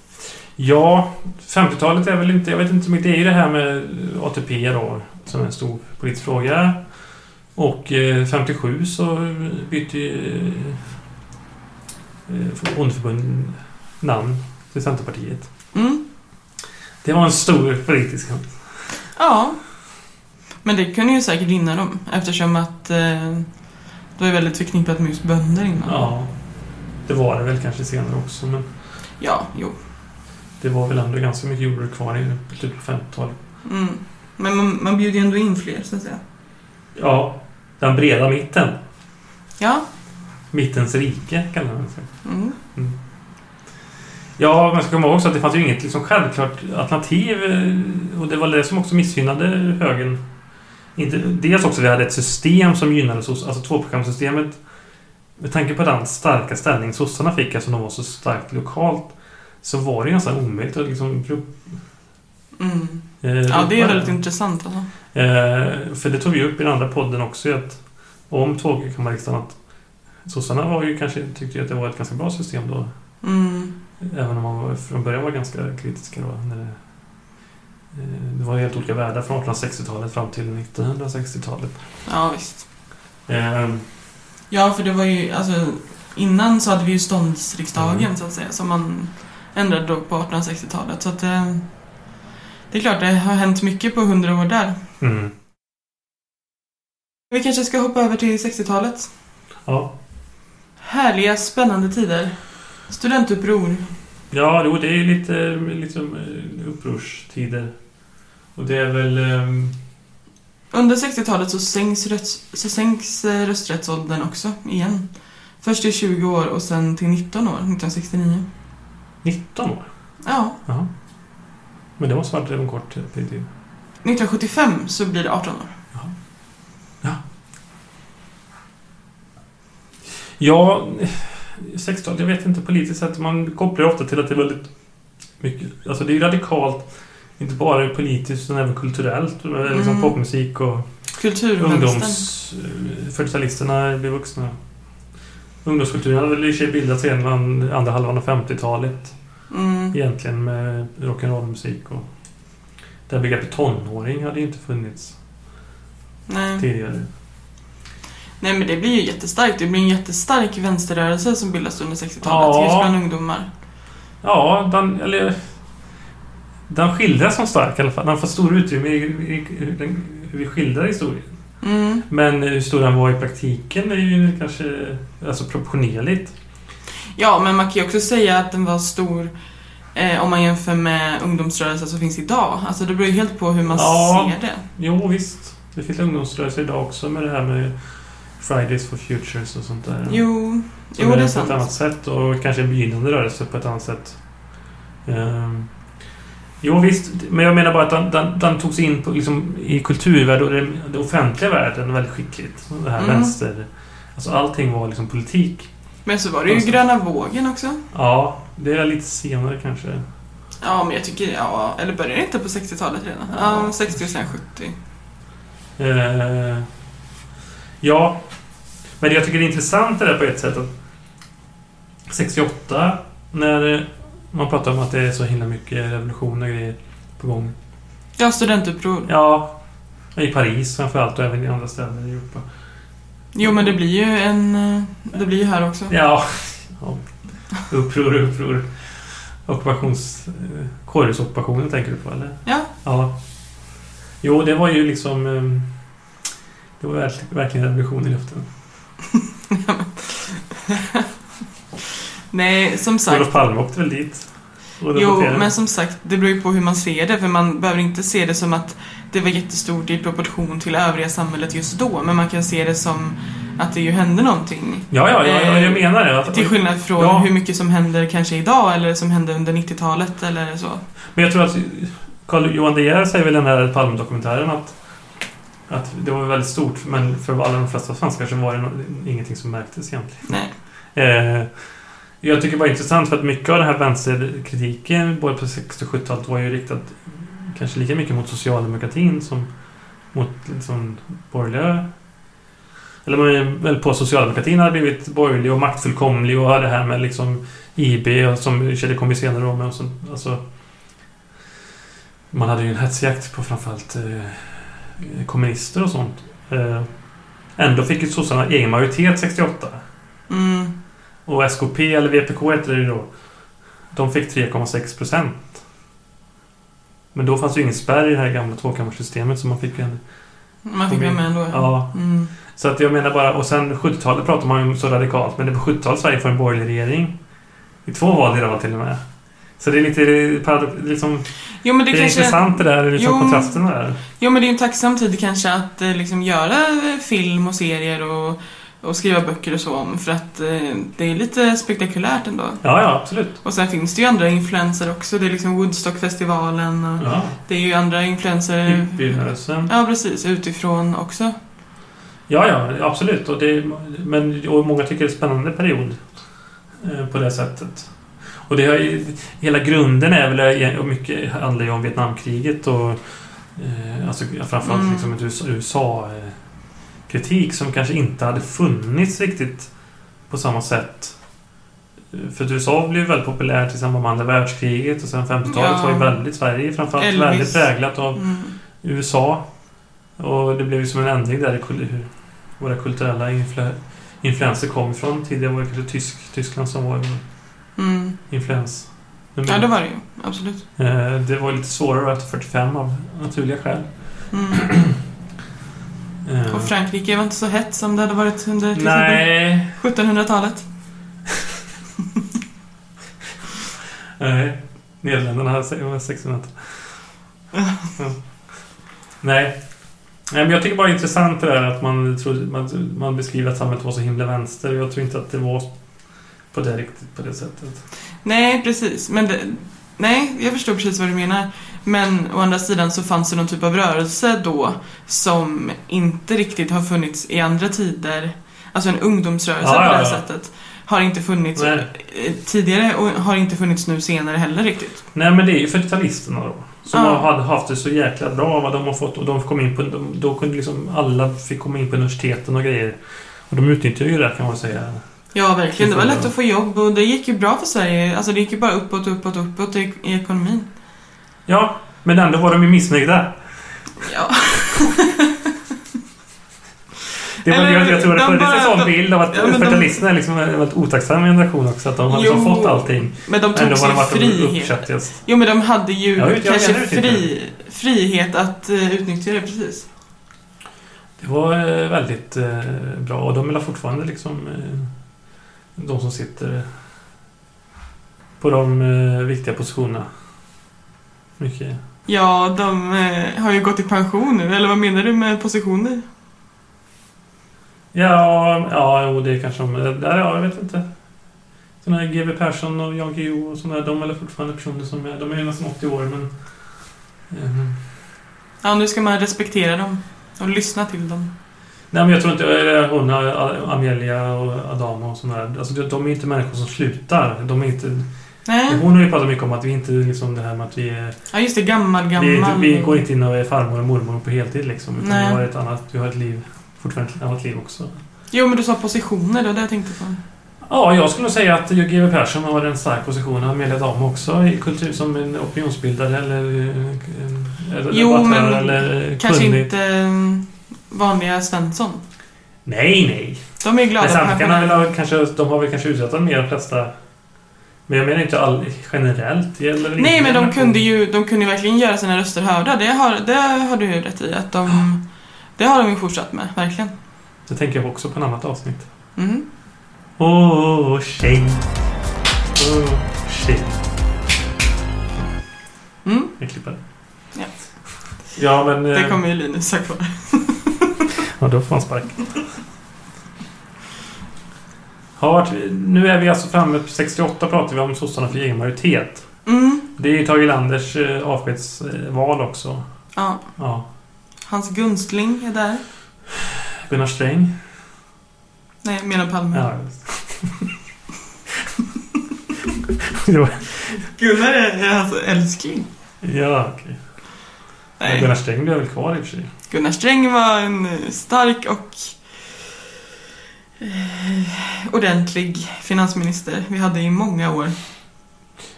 Speaker 2: ja 50-talet är väl inte... Jag vet inte så mycket. Det är ju det här med ATP då, som är en stor politisk fråga. Och eh, 57 så bytte ju eh, bondeförbundet namn till Centerpartiet.
Speaker 1: Mm.
Speaker 2: Det var en stor politisk kamp.
Speaker 1: Ja. Men det kunde ju säkert gynna dem eftersom att eh, det var ju väldigt förknippat med just bönder innan.
Speaker 2: Ja. Det var det väl kanske senare också, men
Speaker 1: Ja, jo.
Speaker 2: det var väl ändå ganska mycket jordbruk kvar i typ slutet på 50-talet.
Speaker 1: Mm. Men man, man bjuder ju ändå in fler så att säga.
Speaker 2: Ja, den breda mitten.
Speaker 1: Ja.
Speaker 2: Mittens rike kallar man det.
Speaker 1: Mm.
Speaker 2: Ja, man ska komma ihåg också att det fanns ju inget liksom självklart alternativ. eh, Och det var det som också missgynnade högern. Inte, dels också vi hade ett system som gynnade soss- alltså tvåprogramsystemet. Med tanke på den starka ställning sossarna fick, alltså de var så starkt lokalt, så var det ju nästan omöjligt att liksom... pro-
Speaker 1: Mm.
Speaker 2: eh,
Speaker 1: Ja, det är
Speaker 2: ropa
Speaker 1: väldigt intressant alltså.
Speaker 2: Eh, för det tog vi upp i den andra podden också, att om tvåkammarriksdagen att sossarna var ju kanske, tyckte ju att det var ett ganska bra system då.
Speaker 1: Mm.
Speaker 2: Även om man var, från början var ganska kritiska då. När det, eh, det var ju helt olika världar från 1860-talet fram till 1960-talet.
Speaker 1: Ja, visst.
Speaker 2: Eh,
Speaker 1: Ja, för det var ju, alltså, innan så hade vi ju ståndsriksdagen
Speaker 2: Mm.
Speaker 1: så att säga, som man ändrade då på 1860-talet. Så att eh, det är klart, det har hänt mycket på 100 år där.
Speaker 2: mm.
Speaker 1: Vi kanske ska hoppa över till 60-talet.
Speaker 2: Ja,
Speaker 1: Härliga, spännande tider. Studentuppror.
Speaker 2: Ja, jo, det är ju lite liksom, eh, upprorstider. Och det är väl... ehm,
Speaker 1: Under 60-talet så sänks, röts, så sänks eh, rösträttsåldern också, igen. Först till 20 år och sen till 19 år, 1969.
Speaker 2: 19 år?
Speaker 1: Ja,
Speaker 2: Jaha. Men det måste ha varit en kort eh, tid.
Speaker 1: 1975 så blir det 18 år.
Speaker 2: Ja, 60-talet, jag vet inte politiskt sett. Man kopplar ju ofta till att det är väldigt mycket... Alltså det är ju radikalt. Inte bara politiskt utan även kulturellt. Med liksom
Speaker 1: Mm.
Speaker 2: popmusik och
Speaker 1: Kulturvänstern.
Speaker 2: ungdoms... eh, 40-talisterna blir vuxna. Ungdomskulturen hade väl i och för sig bildats redan bland andra halvan av 50-talet.
Speaker 1: Mm.
Speaker 2: Egentligen med rock'n'roll-musik och... Det här begreppet tonåring hade ju inte funnits
Speaker 1: Nej.
Speaker 2: tidigare.
Speaker 1: Nej men det blir ju jättestarkt. Det blir en jättestark vänsterrörelse som bildas under 60-talet
Speaker 2: Ja.
Speaker 1: just bland ungdomar.
Speaker 2: Ja, den... Eller, den skildras som stark i alla fall. Den får stor utrymme i, i, i hur, den, hur vi skildrar historien.
Speaker 1: Mm.
Speaker 2: Men hur stor den var i praktiken är ju kanske alltså proportionerligt.
Speaker 1: Ja, men man kan ju också säga att den var stor eh, om man jämför med ungdomsrörelsen som finns idag. Alltså det beror ju helt på hur man
Speaker 2: Ja.
Speaker 1: ser det.
Speaker 2: Jo, visst. Det finns ungdomsrörelser idag också med det här med Fridays for Futures och sånt där.
Speaker 1: Jo,
Speaker 2: Som
Speaker 1: jo det är
Speaker 2: På ett
Speaker 1: sant.
Speaker 2: annat sätt och kanske en begynnande rörelse på ett annat sätt. Ehm, jo visst, men jag menar bara att den, den, den togs in på, liksom, i kulturvärlden och den, den offentliga världen väldigt skickligt. Det här
Speaker 1: Mm.
Speaker 2: vänster... Alltså allting var liksom politik.
Speaker 1: Men så var det ju
Speaker 2: Alltså.
Speaker 1: gröna vågen också.
Speaker 2: Ja, det är lite senare kanske.
Speaker 1: Ja, men jag tycker, ja, eller började det inte på 60-talet redan? Ja,
Speaker 2: Ja.
Speaker 1: 60 och sen 70.
Speaker 2: Ehm, Ja. Men jag tycker det är intressant det där på ett sätt att 68, när man pratar om att det är så himla mycket revolutioner och grejer på gång.
Speaker 1: Ja, studentuppror.
Speaker 2: Ja. I Paris framförallt och även i andra städer i Europa.
Speaker 1: Jo, men det blir ju en... eh, Det blir ju här också.
Speaker 2: Ja. ja. Uppror, uppror. Ockupations... eh, Kårhusockupationen tänker du på, eller?
Speaker 1: Ja.
Speaker 2: Ja. Jo, det var ju liksom... eh, Det var verk- verkligen revolution i luften.
Speaker 1: <laughs> Nej, som sagt.
Speaker 2: Olof Palme åkte väl dit? och
Speaker 1: Jo,
Speaker 2: rapporterade.
Speaker 1: men som sagt, det beror ju på hur man ser det. För man behöver inte se det som att det var jättestort i proportion till övriga samhället just då. Men man kan se det som att det ju hände någonting.
Speaker 2: Ja, ja, ja, ja, jag
Speaker 1: Eh,
Speaker 2: menar det. Att,
Speaker 1: Till skillnad från
Speaker 2: Ja.
Speaker 1: hur mycket som händer kanske idag eller som hände under 90-talet eller så.
Speaker 2: Men jag tror att Carl Johan De Geer säger väl i den här Palme-dokumentären att, att det var väldigt stort, men för alla de flesta svenskar så var det no- ingenting som märktes egentligen.
Speaker 1: Nej.
Speaker 2: Eh, jag tycker bara det är intressant för att mycket av den här vänsterkritiken både på 60 och 70-talet var ju riktat kanske lika mycket mot socialdemokratin som mot liksom, borgerliga... Eller man är väl på socialdemokratin hade blivit borgerlig och maktfullkomlig och det här med liksom IB och som Kjell kommer senare om. Och sånt, alltså, man hade ju en hetsjakt på framförallt eh, kommunister och sånt. Eh, ändå fick ju sossarna egen majoritet 68.
Speaker 1: Mm.
Speaker 2: Och SKP, eller VPK heter det ju då. De fick 3,6 procent. Men då fanns ju ingen spärr i det här gamla tvåkammarsystemet så man fick en...
Speaker 1: Man fick
Speaker 2: Kom
Speaker 1: vara
Speaker 2: in.
Speaker 1: med ändå.
Speaker 2: Ja.
Speaker 1: Mm.
Speaker 2: Så att jag menar bara... Och sen 70-talet pratar man ju om så radikalt. Men det på 70-talet Sverige får en borgerlig regering. I två val i rad till och med. Så det är lite paradox... Liksom,
Speaker 1: Jo, men
Speaker 2: det
Speaker 1: det,
Speaker 2: är
Speaker 1: kanske...
Speaker 2: intressant det där, liksom
Speaker 1: Jo.
Speaker 2: kontrasterna där.
Speaker 1: Jo men det är ju en tacksam tid kanske att eh, liksom göra eh, film och serier och, och skriva böcker och så om för att eh, det är lite spektakulärt ändå.
Speaker 2: Ja, ja, absolut.
Speaker 1: Och sen finns det ju andra influenser också. Det är liksom Woodstockfestivalen och
Speaker 2: Ja.
Speaker 1: det är ju andra influenser.
Speaker 2: Hippierörelsen.
Speaker 1: Ja precis, utifrån också.
Speaker 2: Ja, ja, absolut. Och, det, men, och många tycker det är en spännande period eh, på det sättet. Och det har ju, hela grunden är väl, eh, och mycket handlar ju om Vietnamkriget och eh, alltså, framförallt
Speaker 1: Mm.
Speaker 2: liksom ett USA-kritik som kanske inte hade funnits riktigt på samma sätt. Eh, För att USA blev ju väldigt populärt i samband med andra världskriget och sen 50-talet
Speaker 1: Ja.
Speaker 2: var ju väldigt Sverige framförallt
Speaker 1: Elvis.
Speaker 2: väldigt präglat av
Speaker 1: Mm.
Speaker 2: USA. Och det blev ju som en ändring där i kul- hur våra kulturella influ- influenser kom ifrån. Tidigare var det kanske Tysk, Tyskland som var en
Speaker 1: Mm.
Speaker 2: influens. Men-
Speaker 1: Ja det var det ju, absolut.
Speaker 2: eh, det var lite svårare efter 45 av naturliga skäl.
Speaker 1: Mm.
Speaker 2: Eh,
Speaker 1: Och Frankrike var inte så hett som det hade varit under till
Speaker 2: Nej.
Speaker 1: exempel 1700-talet.
Speaker 2: Nej, Nederländerna <laughs> hade se- var 600. Ja. Nej. Nej, men jag tycker bara det är intressant det där att man, trodde, man, man beskriver att samhället var så himla vänster. Jag tror inte att det var på det riktigt på det sättet.
Speaker 1: Nej, precis. Men det, nej, jag förstår precis vad du menar. Men å andra sidan så fanns det någon typ av rörelse då som inte riktigt har funnits i andra tider. Alltså en ungdomsrörelse
Speaker 2: Ja,
Speaker 1: på
Speaker 2: ja,
Speaker 1: det här
Speaker 2: ja.
Speaker 1: sättet. Har inte funnits
Speaker 2: Nej.
Speaker 1: eh, tidigare och har inte funnits nu senare heller riktigt.
Speaker 2: Nej, men det är ju 40-talisterna då. Som
Speaker 1: Ja.
Speaker 2: hade haft det så jäkla bra vad de har fått. Och de kom in på... De, då kunde liksom alla fick komma in på universiteten och grejer. Och de utnyttjade ju det kan man säga.
Speaker 1: Ja, verkligen. Det var
Speaker 2: Det får
Speaker 1: lätt
Speaker 2: jag.
Speaker 1: att få jobb och det gick ju bra för Sverige. Alltså det gick ju bara uppåt, uppåt, uppåt i, i ekonomin.
Speaker 2: Ja, men ändå var de ju missnöjda.
Speaker 1: Ja.
Speaker 2: <laughs> Det var,
Speaker 1: Eller,
Speaker 2: jag, jag tror det
Speaker 1: de
Speaker 2: föddes en
Speaker 1: bara-
Speaker 2: sån
Speaker 1: de-
Speaker 2: bild av att
Speaker 1: ja, men de-
Speaker 2: 40-talisterna liksom är en väldigt otacksam generation också. Att de har liksom
Speaker 1: Jo.
Speaker 2: fått allting.
Speaker 1: Men de
Speaker 2: Ändå
Speaker 1: tog
Speaker 2: har
Speaker 1: sig
Speaker 2: de varit de
Speaker 1: frihet.
Speaker 2: uppkäftigast.
Speaker 1: Jo men de hade ju
Speaker 2: Jag vet- jag
Speaker 1: kanske
Speaker 2: menar det
Speaker 1: fri, frihet att eh, utnyttja det precis.
Speaker 2: Det var eh, väldigt eh, bra. Och de är fortfarande liksom... Eh, de som sitter på de eh, viktiga positionerna. Mycket.
Speaker 1: Ja, de eh, har ju gått i pension nu, eller vad menar du med positioner?
Speaker 2: Ja, ja, jo, det är kanske de... eh, Där, ja, jag vet inte. Såna här GW Persson och Jan Guillou och såna där, de är väl fortfarande personer som är... De är ju nästan 80 år, men... eh,
Speaker 1: Ja, nu ska man respektera dem och lyssna till dem.
Speaker 2: Nej, men jag tror inte... eh, Hon, eh, Amelia och Adama och såna där. Alltså, de- de är inte människor som slutar. De är inte...
Speaker 1: Nej,
Speaker 2: Hon har ju pratat mycket om att vi inte liksom det här med att vi är...
Speaker 1: ja just det, gammal,
Speaker 2: Vi, är
Speaker 1: gammal.
Speaker 2: inte, vi går inte in och är farmor och mormor på heltid liksom. Utan
Speaker 1: Nej.
Speaker 2: vi har ett annat... Vi har ett liv. fortfarande ett annat liv också.
Speaker 1: Jo, men du sa positioner, det var det jag tänkte på.
Speaker 2: Ja, jag skulle nog säga att GW Persson har en stark position. Han meddelat om också i kultur som en opinionsbildare eller... eh, eller
Speaker 1: Jo,
Speaker 2: debattör
Speaker 1: men
Speaker 2: eller
Speaker 1: Kanske
Speaker 2: kunnig.
Speaker 1: inte eh, vanliga Svensson.
Speaker 2: Nej, nej.
Speaker 1: De är ju glada
Speaker 2: Men samtidigt kan han väl
Speaker 1: pensionärer.
Speaker 2: ha, kanske, de har väl kanske utsatt honom mer de flesta. Men jag menar inte all, generellt. det gäller väl
Speaker 1: Nej,
Speaker 2: ingen
Speaker 1: men de
Speaker 2: generation.
Speaker 1: kunde ju de kunde ju verkligen göra sina röster hörda. Det har, det har du ju rätt i. Att
Speaker 2: Ah.
Speaker 1: de, det har de ju fortsatt med, verkligen.
Speaker 2: Det tänker jag också på ett annat avsnitt.
Speaker 1: Mhm.
Speaker 2: Åh, oh, tjej. Åh, oh, tjej.
Speaker 1: Mm.
Speaker 2: Jag klipper.
Speaker 1: Ja.
Speaker 2: Ja, men... eh,
Speaker 1: Det kommer ju Linus ha kvar.
Speaker 2: Ja, då får han spark. Har varit, nu är vi alltså framme på 68 pratar vi om sossarna för egen majoritet.
Speaker 1: Mm.
Speaker 2: Det är ju Tage Landers eh, avskedsval också.
Speaker 1: Ja.
Speaker 2: Ja.
Speaker 1: Hans Gunstling är där.
Speaker 2: Gunnar Sträng.
Speaker 1: Nej, jag menar Palme.
Speaker 2: Ja. det var,
Speaker 1: Gunnar är är hans älskling.
Speaker 2: ja, okej. Men Gunnar
Speaker 1: Nej.
Speaker 2: Sträng blev väl kvar i och för sig.
Speaker 1: Gunnar Sträng var en eh, stark och eh, ordentlig finansminister. Vi hade i många år.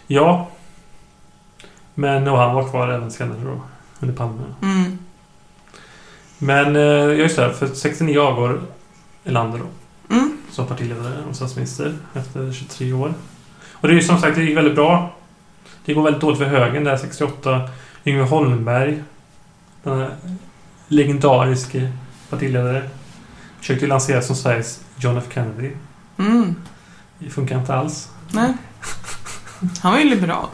Speaker 2: Ja. Men och han var kvar även senare då. Under Palme.
Speaker 1: Mm.
Speaker 2: Men eh, ja, just det, här, för 69 avgår Erlander då.
Speaker 1: Mm.
Speaker 2: som partiledare och statsminister efter 23 år. Och det är ju som sagt, det gick väldigt bra. Det går väldigt dåligt för högern där 68. Yngve Holmberg, den här legendariske partiledare, försökte ju lansera som Sveriges John F Kennedy.
Speaker 1: Mm.
Speaker 2: Det funkar inte alls.
Speaker 1: Nej. Han var ju liberal.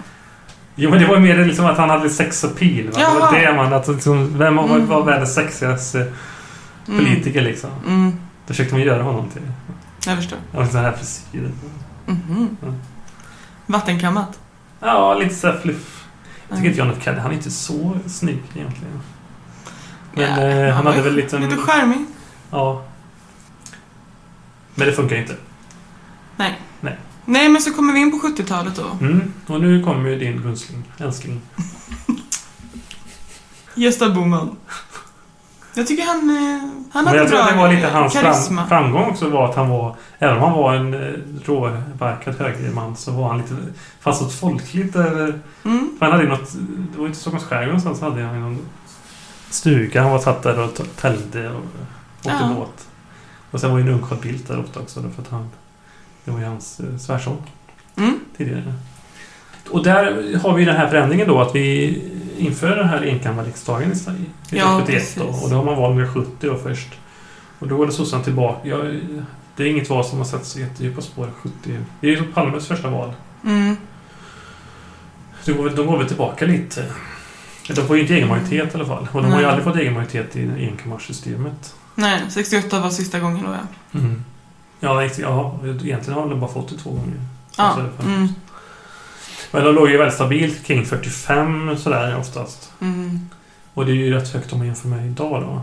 Speaker 2: Jo, men det var ju mer det liksom att han hade sex appeal. Va? Det var
Speaker 1: Jaha.
Speaker 2: det man... Att liksom, vem var,
Speaker 1: Mm.
Speaker 2: var världens sexigaste
Speaker 1: Mm.
Speaker 2: politiker liksom?
Speaker 1: Mm.
Speaker 2: Det försökte man göra honom till.
Speaker 1: Jag förstår.
Speaker 2: Och sån här frisyr.
Speaker 1: Mhm.
Speaker 2: Mm.
Speaker 1: Vattenkammat.
Speaker 2: Ja, lite så här fluff. Jag
Speaker 1: Mm.
Speaker 2: tycker inte John F Kennedy, han är inte så snygg egentligen. Men
Speaker 1: Ja,
Speaker 2: eh, han
Speaker 1: var
Speaker 2: hade
Speaker 1: ju
Speaker 2: väl lite...
Speaker 1: Lite charmig.
Speaker 2: ja. Men det funkar ju inte.
Speaker 1: Nej, men så kommer vi in på 70-talet då.
Speaker 2: Mm. Och nu kommer ju din gunsling, älskling.
Speaker 1: Gösta Bohman. Jag tycker han... eh, Han
Speaker 2: Men
Speaker 1: hade
Speaker 2: jag tror
Speaker 1: bra
Speaker 2: att det var lite
Speaker 1: eh,
Speaker 2: hans
Speaker 1: karisma.
Speaker 2: fram, framgång också var att han var... Även om han var en eh, råbarkad högerman så var han lite... Fanns något folkligt över...
Speaker 1: Mm.
Speaker 2: För han hade ju något... Det var ju inte Stockholms skärgård någonstans. hade han ju någon stuga. Han var satt där och t- täljde och åkte
Speaker 1: Ja.
Speaker 2: båt. Och sen var ju en ung Carl Bildt där ofta också. För att han, det var ju hans eh, svärson.
Speaker 1: Mm.
Speaker 2: tidigare. Och där har vi den här förändringen då att vi inför den här enkammarriksdagen i Sverige.
Speaker 1: Ja,
Speaker 2: 1971 då,
Speaker 1: precis.
Speaker 2: och då har man val med 70 då först. Och då går det sossarna tillbaka. Ja, det är inget val som har satt sig jättedjupa spår 70. Det är ju Palmes första val.
Speaker 1: Mm.
Speaker 2: Så de går väl- de går väl tillbaka lite. De får ju inte egen majoritet i alla fall. Och de har
Speaker 1: Nej.
Speaker 2: ju aldrig fått egen majoritet i enkammarsystemet.
Speaker 1: Nej, 68 var sista gången då, ja.
Speaker 2: Ja, ex- ja, egentligen har de bara fått det två gånger.
Speaker 1: Ja,
Speaker 2: Alltså,
Speaker 1: mm.
Speaker 2: Men de låg ju väldigt stabilt kring 45 sådär oftast.
Speaker 1: Mm.
Speaker 2: Och det är ju rätt högt om man jämför med idag då.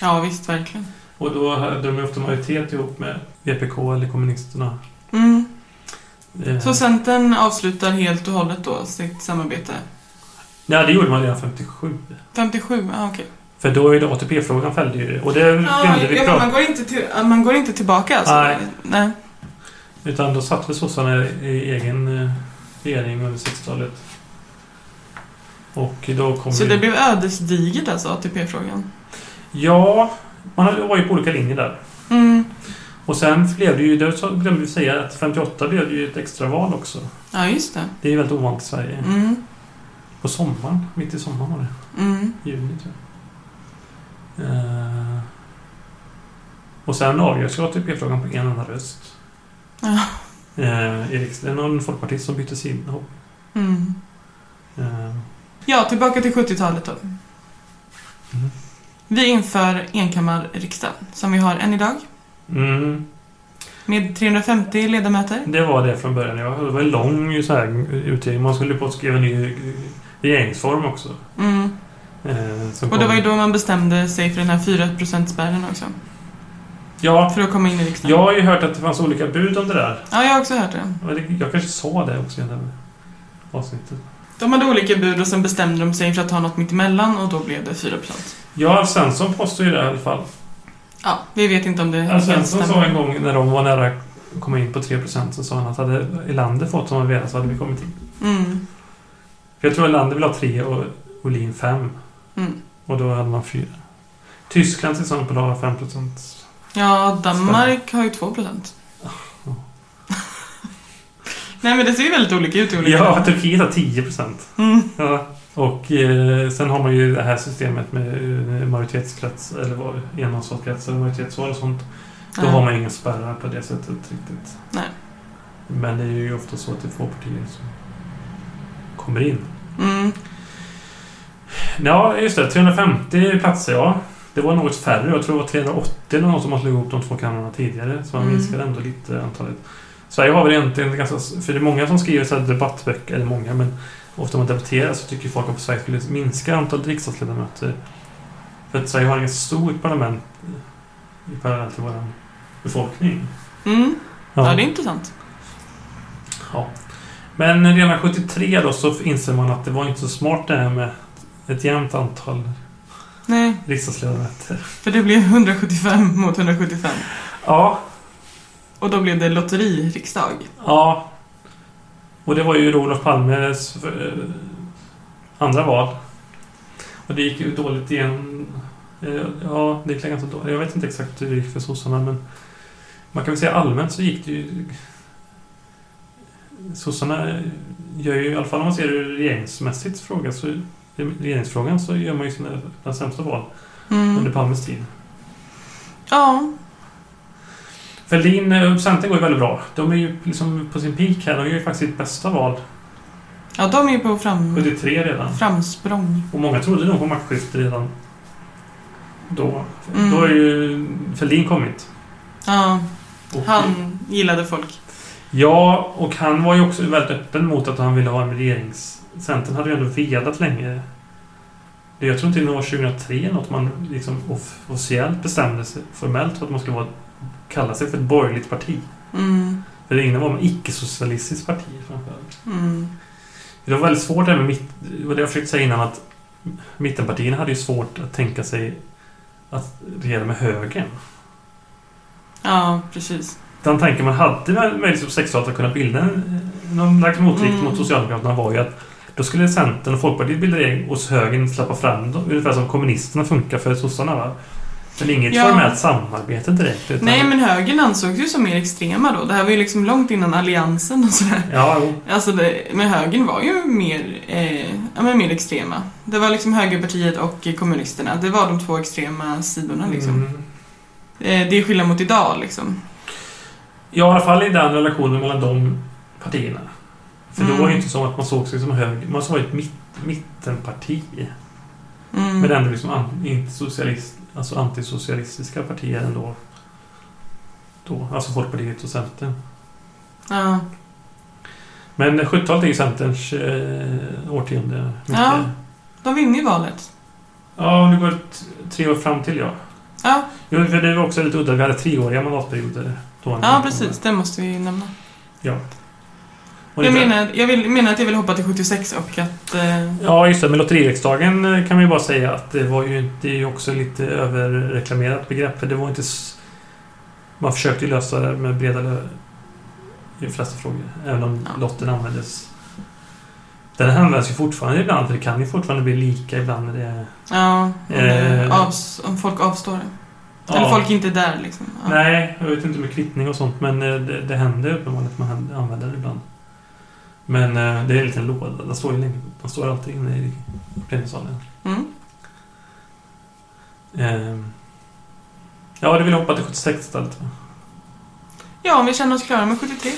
Speaker 1: ja visst, verkligen.
Speaker 2: Och då hade de ju ofta majoritet ihop med VPK eller kommunisterna.
Speaker 1: Mm.
Speaker 2: Eh,
Speaker 1: Så Centern avslutar helt och hållet då sitt samarbete?
Speaker 2: Nej, det gjorde man redan 57.
Speaker 1: 57, ja okej.
Speaker 2: För då är det ATP-frågan fällde ju det. Och det
Speaker 1: Ja,
Speaker 2: glömde vi
Speaker 1: ja, men
Speaker 2: prata
Speaker 1: man, går inte till, man går inte tillbaka alltså?
Speaker 2: Nej.
Speaker 1: Nej.
Speaker 2: Utan då satt väl sossarna i egen eh, regering under 60-talet. Och då kom
Speaker 1: Så
Speaker 2: ju-
Speaker 1: det blev ödesdigert alltså, ATP-frågan?
Speaker 2: Ja, man var ju på olika linjer där.
Speaker 1: Mm.
Speaker 2: Och sen blev det ju, det glömde vi säga, att 58 blev det ju ett extraval också.
Speaker 1: Ja, just det.
Speaker 2: Det är ju väldigt ovanligt i Sverige.
Speaker 1: Mm.
Speaker 2: På sommaren, mitt i sommaren var det.
Speaker 1: Mm.
Speaker 2: juni tror jag. Eh, och sen avgörs ju ATP-frågan på en enda röst.
Speaker 1: Ja.
Speaker 2: Eh, I riksdagen. Det är någon folkpartist som bytte sida.
Speaker 1: Mm.
Speaker 2: Eh,
Speaker 1: Ja, tillbaka till 70-talet då.
Speaker 2: Mm.
Speaker 1: Vi inför enkammarriksdag, som vi har än idag,
Speaker 2: mm,
Speaker 1: med 350 ledamöter.
Speaker 2: det var det från början. Ja, Det var en lång så här, utredning. Man skulle på att skriva en ny eh, regeringsform också.
Speaker 1: Mm.
Speaker 2: Eh, som
Speaker 1: Och det
Speaker 2: kom-
Speaker 1: var ju då man bestämde sig för den här 4%-spärren också,
Speaker 2: Ja,
Speaker 1: för att komma in i riksdagen.
Speaker 2: jag har ju hört att det fanns olika bud om det där.
Speaker 1: Ja, jag har också hört det.
Speaker 2: Och det- Jag kanske sa det också i det här avsnittet.
Speaker 1: De hade olika bud och sen bestämde de sig för att ha något mittemellan och då blev det 4%.
Speaker 2: Ja, Alf Svensson påstår ju det i alla fall.
Speaker 1: Ja, vi vet inte om det
Speaker 2: Ja, Svensson sa
Speaker 1: stämmer.
Speaker 2: Alltså, en gång när de var nära att komma in på 3% så sa han att hade Elander fått som han velat så hade vi kommit in.
Speaker 1: Mm,
Speaker 2: För jag tror Elander vill ha 3 och Olin 5.
Speaker 1: mm.
Speaker 2: Och då hade man 4. Tyskland till exempel har 5%.
Speaker 1: Ja, Danmark har ju 2 procent. <laughs> Nej men det ser ju väldigt olika ut i olika
Speaker 2: Ja, typ.
Speaker 1: länder.
Speaker 2: Turkiet har 10%.
Speaker 1: Mm.
Speaker 2: Ja. Och eh, sen har man ju det här systemet med eh, majoritetskrets eller vad, enmansvalkretsar och majoritetsval och sånt. Då
Speaker 1: Ja.
Speaker 2: har man inga spärrar på det sättet riktigt.
Speaker 1: Nej.
Speaker 2: Men det är ju ofta så att det är få partier som kommer in.
Speaker 1: Mm.
Speaker 2: Ja, just det. 350 platser, ja. Det var något färre. Jag tror det var 380 eller något som man slog ihop de två kamrarna tidigare. Så man
Speaker 1: Mm.
Speaker 2: minskade ändå lite antalet. Sverige har väl egentligen ganska... För det är många som skriver så här debattböcker, eller många, men ofta man debatterar så tycker folk att Sverige skulle minska antalet riksdagsledamöter. För att Sverige har inget stort parlament i parallell till vår befolkning.
Speaker 1: Mm. Ja, det är intressant.
Speaker 2: Ja. Men redan 73 då så inser man att det var inte så smart det här med ett jämnt antal
Speaker 1: Nej,
Speaker 2: riksdagsledamöter.
Speaker 1: för det blev <laughs> 175 mot 175.
Speaker 2: Ja,
Speaker 1: Och då blev det lotteririksdag.
Speaker 2: ja. Och det var ju då Olof Palmes eh, andra val. Och det gick ju dåligt igen. Eh, Ja, det gick ganska dåligt. Jag vet inte exakt hur det gick för sossarna, men man kan väl säga allmänt så gick det ju... Sossarna gör ju, i alla fall om man ser det ur regeringsmässigt fråga, så, regeringsfrågan, så gör man ju sina sina sämsta val under
Speaker 1: Mm.
Speaker 2: Palmes tid.
Speaker 1: Ja,
Speaker 2: Fälldin och Centern eh, går ju väldigt bra. De är ju liksom på sin peak här. De gör ju faktiskt sitt bästa val.
Speaker 1: ja de är ju på fram...
Speaker 2: 73 redan.
Speaker 1: framsprång.
Speaker 2: Och många trodde nog på maktskifte redan då.
Speaker 1: Mm.
Speaker 2: Då har ju Fälldin kommit.
Speaker 1: Ja,
Speaker 2: Och,
Speaker 1: han gillade folk.
Speaker 2: Ja, och han var ju också väldigt öppen mot att han ville ha en regerings... Centern hade ju ändå velat länge. Det- Jag tror inte det var 2003 något man liksom off- officiellt bestämde sig formellt för att man skulle vara, kalla sig för ett borgerligt parti.
Speaker 1: Mm.
Speaker 2: För det innan var man icke-socialistiskt parti framförallt.
Speaker 1: Mm.
Speaker 2: Det var väldigt svårt det här med mitt... Det var det jag försökte säga innan att mittenpartierna hade ju svårt att tänka sig att regera med högern.
Speaker 1: Ja, precis.
Speaker 2: Den tanken man hade med möjligtvis på 60-talet att kunna bilda en, någon slags motvikt
Speaker 1: Mm.
Speaker 2: mot Socialdemokraterna var ju att då skulle Centern och Folkpartiet bilda regering och högern släppa fram dem. Ungefär som kommunisterna funkar för sossarna va? Men inget
Speaker 1: Ja.
Speaker 2: formellt samarbete direkt. Utan,
Speaker 1: Nej, men högern ansågs ju som mer extrema då. Det här var ju liksom långt innan alliansen och sådär.
Speaker 2: Ja, jo.
Speaker 1: Alltså, det, men högern var ju mer, eh, ja, men mer extrema. Det var liksom högerpartiet och eh, kommunisterna. Det var de två extrema sidorna liksom.
Speaker 2: Mm.
Speaker 1: Eh, det är skillnad mot idag liksom.
Speaker 2: Ja, i alla fall i den relationen mellan de partierna. För då var det
Speaker 1: Mm.
Speaker 2: ju inte som att man såg sig som höger. Man såg ett mitt, mittenparti.
Speaker 1: Mm.
Speaker 2: Men ändå liksom an, inte socialist, alltså antisocialistiska partier ändå. Då, alltså Folkpartiet och Centern.
Speaker 1: Ja.
Speaker 2: Men 70-talet är ju Centerns eh, årtionde. mycket.
Speaker 1: Ja. De vinner ju valet.
Speaker 2: ja, nu går det t- tre år fram till ja.
Speaker 1: Ja.
Speaker 2: Jo, för det var också lite udda. Vi hade treåriga mandatperioder. Då
Speaker 1: Ja, precis. Det måste vi ju nämna.
Speaker 2: Och
Speaker 1: Jag
Speaker 2: lite-
Speaker 1: menar, jag vill, menar att jag vill hoppa till 76 och att... Eh,
Speaker 2: Ja, just det. Men lotteririksdagen eh, kan man ju bara säga att det var ju inte- det är ju också lite överreklamerat begrepp. För det var inte... s- Man försökte ju lösa det med breda lö- i de flesta frågor. Även om
Speaker 1: Ja.
Speaker 2: lotten användes. Den används ju fortfarande ibland. För det kan ju fortfarande bli lika ibland när det är...
Speaker 1: ja, om, det-
Speaker 2: Eh.
Speaker 1: avs, om folk avstår. Eller folk inte är där liksom. Ja.
Speaker 2: Nej, jag vet inte med kvittning och sånt. Men eh, det, det händer uppenbarligen att man hand- använder det ibland. Men eh, det är en liten låda. Den står ju länge. Den står alltid inne i plenisalen.
Speaker 1: Mm.
Speaker 2: Ehm. Ja, du vill hoppa till 76 istället. va?
Speaker 1: Ja, om vi känner oss klara med 73.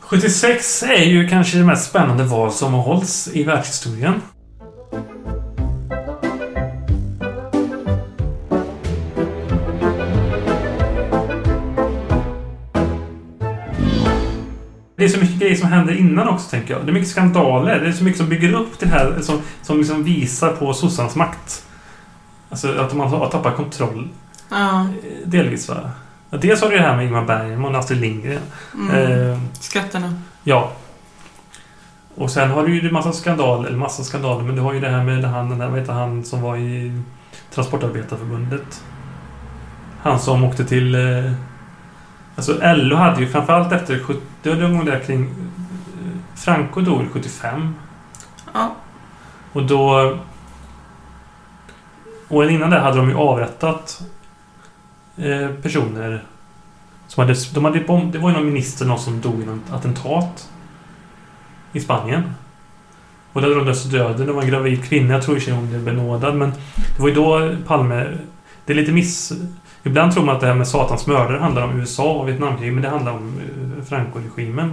Speaker 2: 76 är ju kanske det mest spännande val som har hållits i världshistorien. Det är så mycket grejer som händer innan också, tänker jag. Det är mycket skandaler. Det är så mycket som bygger upp det här, som, som liksom visar på sossarnas makt. Alltså att man har tappat kontroll
Speaker 1: Ja.
Speaker 2: Eh, Delvis va? Ja, Dels har du det här med Ingmar Bergman och Astrid Lindgren.
Speaker 1: Mm.
Speaker 2: Eh,
Speaker 1: Skatterna.
Speaker 2: ja. Och sen har du ju en massa skandaler, eller massa skandaler, men du har ju det här med han, den där, vad heter han som var i Transportarbetarförbundet? Han som åkte till... eh, Alltså LO hade ju framförallt efter 70... Det var någon där kring... eh, Franco dog 75.
Speaker 1: Ja.
Speaker 2: Och då... Åren innan det hade de ju avrättat eh, personer som hade... De hade bomb, det var ju någon minister någon som dog i något attentat i Spanien. Och där hade de döds döden. Det var en gravid kvinna. Jag tror i och för sig hon blev benådad. Men det var ju då Palme... Det är lite miss... Ibland tror man att det här med Satans mördare handlar om USA och Vietnamkriget. Men det handlar om eh, Franco-regimen.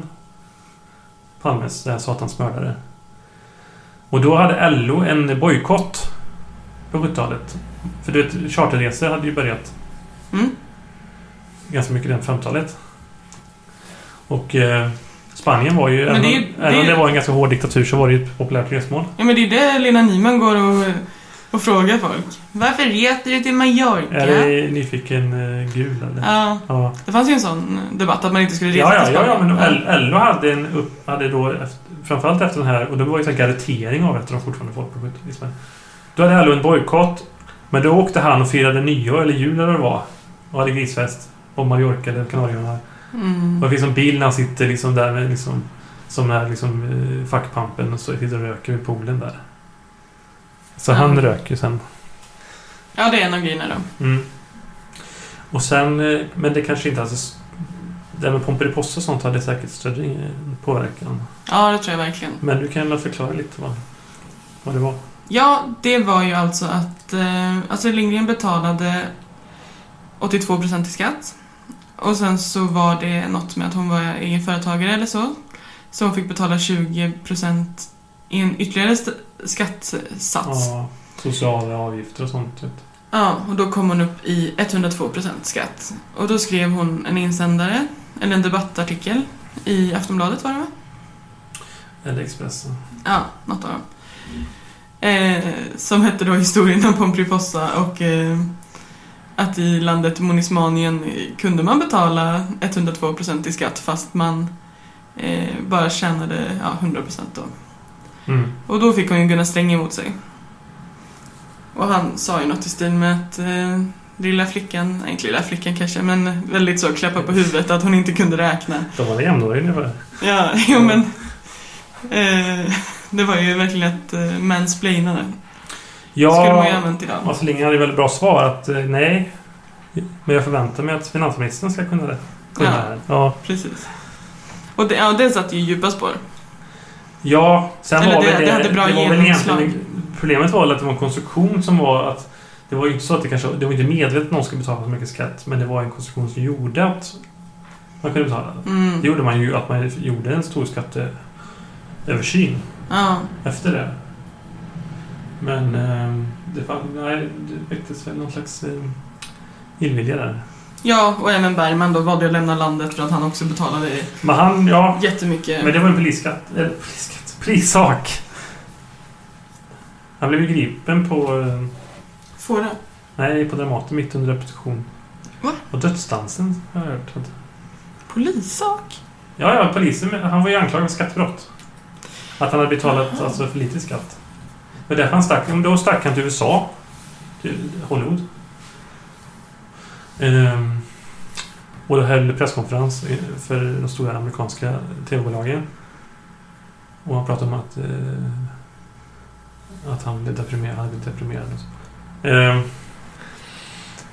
Speaker 2: Palmes, det här Satans mördare. Och då hade LO en bojkott på 70-talet. För du vet, charterresor hade ju börjat
Speaker 1: Mm.
Speaker 2: ganska mycket redan på 50-talet. Och eh, Spanien var ju...
Speaker 1: Men
Speaker 2: även,
Speaker 1: det är
Speaker 2: om-
Speaker 1: ju- det
Speaker 2: även om
Speaker 1: är-
Speaker 2: det var en ganska hård diktatur så var det ju ett populärt resmål.
Speaker 1: Ja, men det är det Lena Nyman går och, och frågar folk. Varför reser du till Mallorca?
Speaker 2: Är det nyfiken eh, gul eller?
Speaker 1: Ja,
Speaker 2: Ja.
Speaker 1: det fanns ju en sån debatt att man inte skulle resa
Speaker 2: Ja, ja,
Speaker 1: till
Speaker 2: ja,
Speaker 1: Spanien.
Speaker 2: ja, men L- LO hade, en upp, hade då, efter, framförallt efter den här, och det var ju så här garantering av att de fortfarande folk på 70 liksom. Då hade LO en bojkott, men då åkte han och firade nyår eller jul eller vad det var. Och hade grisfest. På Mallorca eller Kanarieöarna.
Speaker 1: Mm.
Speaker 2: Och det finns en bild när han sitter liksom där med liksom, som den här liksom, eh, fackpampen och så sitter och röker vid poolen där. Så han
Speaker 1: Mm.
Speaker 2: röker sen.
Speaker 1: Ja, det är en av grejerna då.
Speaker 2: Mm. Och sen, eh, men det kanske inte alls... Det här med Pomperipossa och sånt hade säkert större eh, påverkan.
Speaker 1: Ja, det tror jag verkligen.
Speaker 2: Men du kan väl förklara lite vad, vad det var?
Speaker 1: Ja, det var ju alltså att eh, Astrid Lindgren betalade 82% i skatt. Och sen så var det något med att hon var egenföretagare eller så. Så hon fick betala 20% i en ytterligare st- skattesats.
Speaker 2: Ja, sociala avgifter och sånt. typ. vet du.
Speaker 1: Ja, och då kom hon upp i 102% skatt. Och då skrev hon en insändare, eller en debattartikel, i Aftonbladet var det va?
Speaker 2: Eller Expressen.
Speaker 1: Ja, något av dem. Eh, som hette då Historien om Pomperipossa och eh, att i landet Monismanien kunde man betala 102% i skatt fast man eh, bara tjänade ja, 100% då.
Speaker 2: Mm.
Speaker 1: Och då fick hon ju Gunnar Sträng emot sig. Och han sa ju något i stil med att eh, lilla flickan, nej inte lilla flickan kanske, men väldigt så klappa på huvudet att hon inte kunde räkna.
Speaker 2: De var jämnåriga ungefär.
Speaker 1: Ja, <laughs> jo men eh, det var ju verkligen att eh, mansplaina det. Skulle man ju
Speaker 2: Ja, Alltså,
Speaker 1: använt idag.
Speaker 2: Mats Lindgren hade väldigt bra svar att eh, nej. Men jag förväntar mig att finansministern ska kunna det. Kunna
Speaker 1: Ja.
Speaker 2: det här. ja.
Speaker 1: Precis. Och det, ja, det satt ju djupa spår.
Speaker 2: Ja, sen
Speaker 1: Eller
Speaker 2: var
Speaker 1: det-
Speaker 2: väl det...
Speaker 1: det hade bra
Speaker 2: det var väl
Speaker 1: genomslag.
Speaker 2: egentligen- Problemet var väl att det var en konstruktion som var att... Det var ju inte så att det kanske... Det var inte medvetet att någon skulle betala så mycket skatt. Men det var en konstruktion som gjorde att man kunde betala.
Speaker 1: Mm.
Speaker 2: Det gjorde man ju att man gjorde en stor skatteöversyn
Speaker 1: Ja.
Speaker 2: efter det. Men eh, det, fann, nej, det väcktes väl någon slags eh, illvilja där.
Speaker 1: ja, och även Bergman då valde att lämna landet för att han också betalade
Speaker 2: Men han, ja.
Speaker 1: jättemycket.
Speaker 2: Men det var en polisskatt. Eller polisskatt. Polissak. Han blev ju gripen på... eh,
Speaker 1: Fåra.
Speaker 2: Nej, på Dramaten mitt under repetition.
Speaker 1: Va?
Speaker 2: Och dödsdansen har jag hört. att-
Speaker 1: Polissak?
Speaker 2: Ja, ja, polisen. men Han var ju anklagad för skattebrott. Att han hade betalat
Speaker 1: Aha.
Speaker 2: alltså, för lite skatt. Men därför han stack. men Då stack han till USA. Till Hollywood. Ehm, och då höll presskonferens eh, för de stora amerikanska tv-bolagen. Och han pratade om att, eh, att han blev deprimerad. Han blev deprimerad och så. Ehm,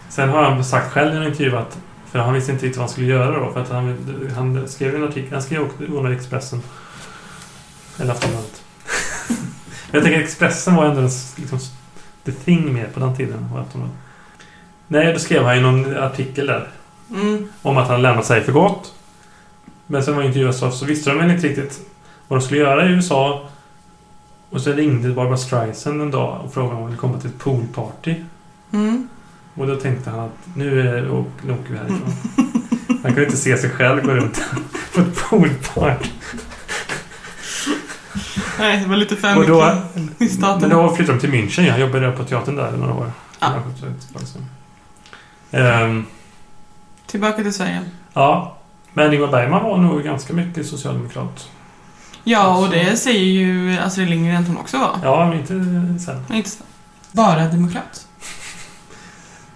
Speaker 2: sen har han sagt själv i en intervju att för han visste inte riktigt vad han skulle göra då. För att han, han skrev en artikel. Han skrev också under Expressen. Eller Aftonbladet. Men jag tänker att Expressen var ändå den, s- liksom, the thing mer på den tiden. Var Aftonbladet. Nej, då skrev han ju någon artikel där.
Speaker 1: Mm.
Speaker 2: Om att han lämnat sig för gott. Men sen var ju inte i USA så visste de väl inte riktigt vad de skulle göra i USA. Och så ringde Barbra Streisand en dag och frågade om han ville komma till ett poolparty.
Speaker 1: Mm. och
Speaker 2: Och då tänkte han att nu, är, och, nu åker vi härifrån. Han kunde inte se sig själv gå runt på ett poolparty.
Speaker 1: Nej, det var lite för
Speaker 2: Och då,
Speaker 1: mycket i staten.
Speaker 2: men då flyttade de till München. Jag jobbade där på teatern där i några år.
Speaker 1: Ja.
Speaker 2: Ehm,
Speaker 1: Tillbaka till Sverige.
Speaker 2: ja. Men Ingmar Bergman var nog ganska mycket socialdemokrat.
Speaker 1: Ja, och det säger ju Astrid Lindgren att hon också var.
Speaker 2: Ja, men inte sen.
Speaker 1: Men inte så. Bara demokrat.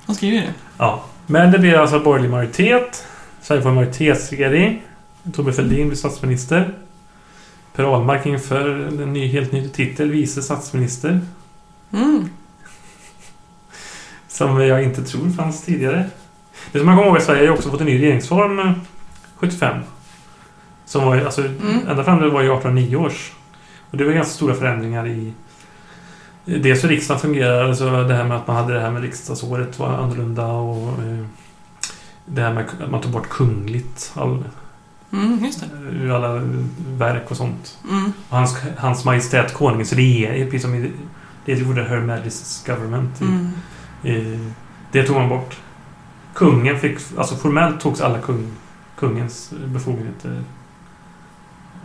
Speaker 1: Hon skriver ju det.
Speaker 2: Ja. Men det blir alltså borgerlig majoritet. Sverige får en majoritetsregering. Torbjörn Fälldin blir statsminister. Per Ahlmark inför en ny, helt ny titel, vice statsminister.
Speaker 1: Mm.
Speaker 2: Som jag inte tror fanns tidigare. Det som man kommer ihåg är att Sverige har ju också fått en ny regeringsform eh, 75. Som var, ju- alltså,
Speaker 1: Mm.
Speaker 2: Ända fram till det var ju 1809 års. Och det var ganska stora förändringar i dels hur riksdagen fungerar, alltså det här med att man hade det här med riksdagsåret var annorlunda och eh, det här med att man tog bort kungligt all,
Speaker 1: Mm, just det.
Speaker 2: ur alla verk och sånt.
Speaker 1: Mm.
Speaker 2: Och hans, hans majestät konungens regering, precis som i, det gjorde Her Majesty's Government i
Speaker 1: Mm.
Speaker 2: Eh, Det tog man bort. Kungen fick... Alltså formellt togs alla kung, kungens befogenheter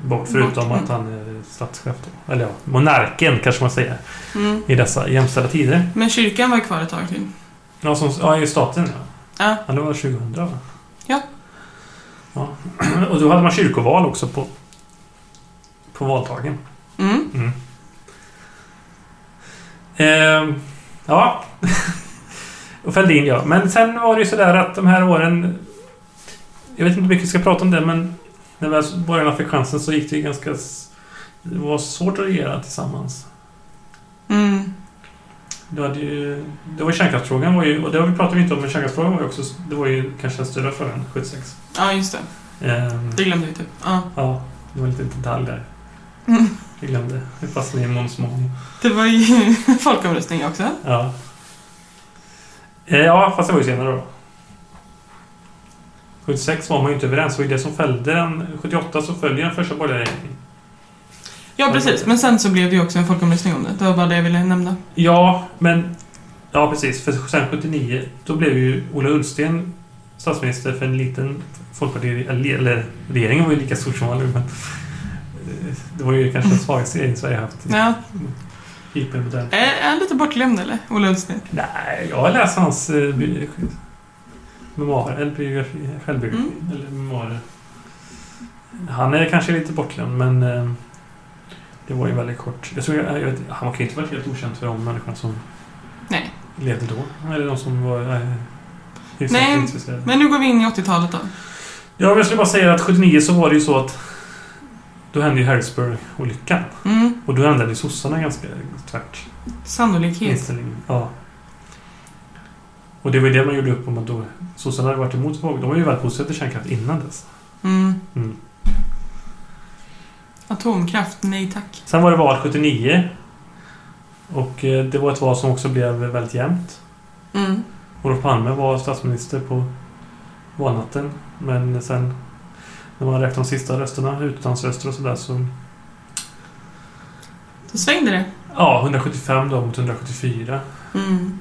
Speaker 2: bort. Förutom
Speaker 1: Bort,
Speaker 2: att han är statschef då. Eller ja, monarken kanske man säger.
Speaker 1: Mm.
Speaker 2: I dessa jämställda tider.
Speaker 1: Men kyrkan var kvar ett tag till.
Speaker 2: Ja, som, ja i staten ja.
Speaker 1: Ja.
Speaker 2: det var 2000 va?
Speaker 1: Ja.
Speaker 2: ja. <clears throat> Och då hade man kyrkoval också på... På valdagen.
Speaker 1: Mm.
Speaker 2: Mm. Ehm, ja. <laughs> och Fälldin ja. Men sen var det ju sådär att de här åren... Jag vet inte hur mycket vi ska prata om det men... När väl borgarna fick chansen så gick det ju ganska... s- Det var svårt att regera tillsammans.
Speaker 1: Mm.
Speaker 2: Det, hade ju, det var ju kärnkraftsfrågan var ju... Och det har vi pratat inte om men kärnkraftsfrågan var ju också... Det var ju kanske den större frågan 76.
Speaker 1: Ja, just det.
Speaker 2: Ehm,
Speaker 1: Det glömde vi typ. Ja.
Speaker 2: ja, det var lite detalj där.
Speaker 1: Mm.
Speaker 2: Jag glömde. Jag fastnade i Måns Mån.
Speaker 1: Det var ju <laughs> folkomröstning också.
Speaker 2: Ja. Eh, Ja, fast det var ju senare då. 76 var man ju inte överens. Det var ju det som fällde den. 78 så följer den första borgerliga regeringen.
Speaker 1: Ja, precis. Men sen så blev det Mm. ju också en folkomröstning om det. Det var bara det jag ville nämna.
Speaker 2: Ja, men... Ja, precis. För sen 79, då blev ju Ola Ullsten statsminister för en liten folkparti... Eller, eller regeringen var ju lika stor som vanligt, men... eh, Det var ju kanske den svagaste regering Sverige haft.
Speaker 1: Ja.
Speaker 2: IP modern.
Speaker 1: Är är han lite bortglömd eller? Ola Ullsten?
Speaker 2: Nej, jag har läst hans eh, bi- memoarer, eller biografi, självbiografi,
Speaker 1: Mm.
Speaker 2: eller memoarer. Han är kanske lite bortglömd, men eh, det var ju väldigt kort. Jag tror, jag, jag vet, han kan ju inte varit helt okänd för de människorna som
Speaker 1: Nej.
Speaker 2: levde då. Eller de som var eh, hyfsat
Speaker 1: Nej,
Speaker 2: intresserade.
Speaker 1: Men nu går vi in i 80-talet då.
Speaker 2: Ja, men jag skulle bara säga att 79 så var det ju så att då hände ju Harrisburg-olyckan.
Speaker 1: Mm.
Speaker 2: Och då ändrade ju sossarna ganska tvärt.
Speaker 1: Sannolikhet.
Speaker 2: inställning. Ja. Och det var ju det man gjorde upp om att då sossarna hade varit emot våg. De var ju väldigt positiva till kärnkraft innan dess.
Speaker 1: Mm.
Speaker 2: Mm.
Speaker 1: Atomkraft, nej tack.
Speaker 2: Sen var det val 79. Och eh, det var ett val som också blev väldigt jämnt.
Speaker 1: Mm.
Speaker 2: Olof Palme var statsminister på valnatten. Men sen när man räknade de sista rösterna, utlandsröster och sådär, så...
Speaker 1: Så svängde det.
Speaker 2: Ja, 175 då mot 174.
Speaker 1: Mm.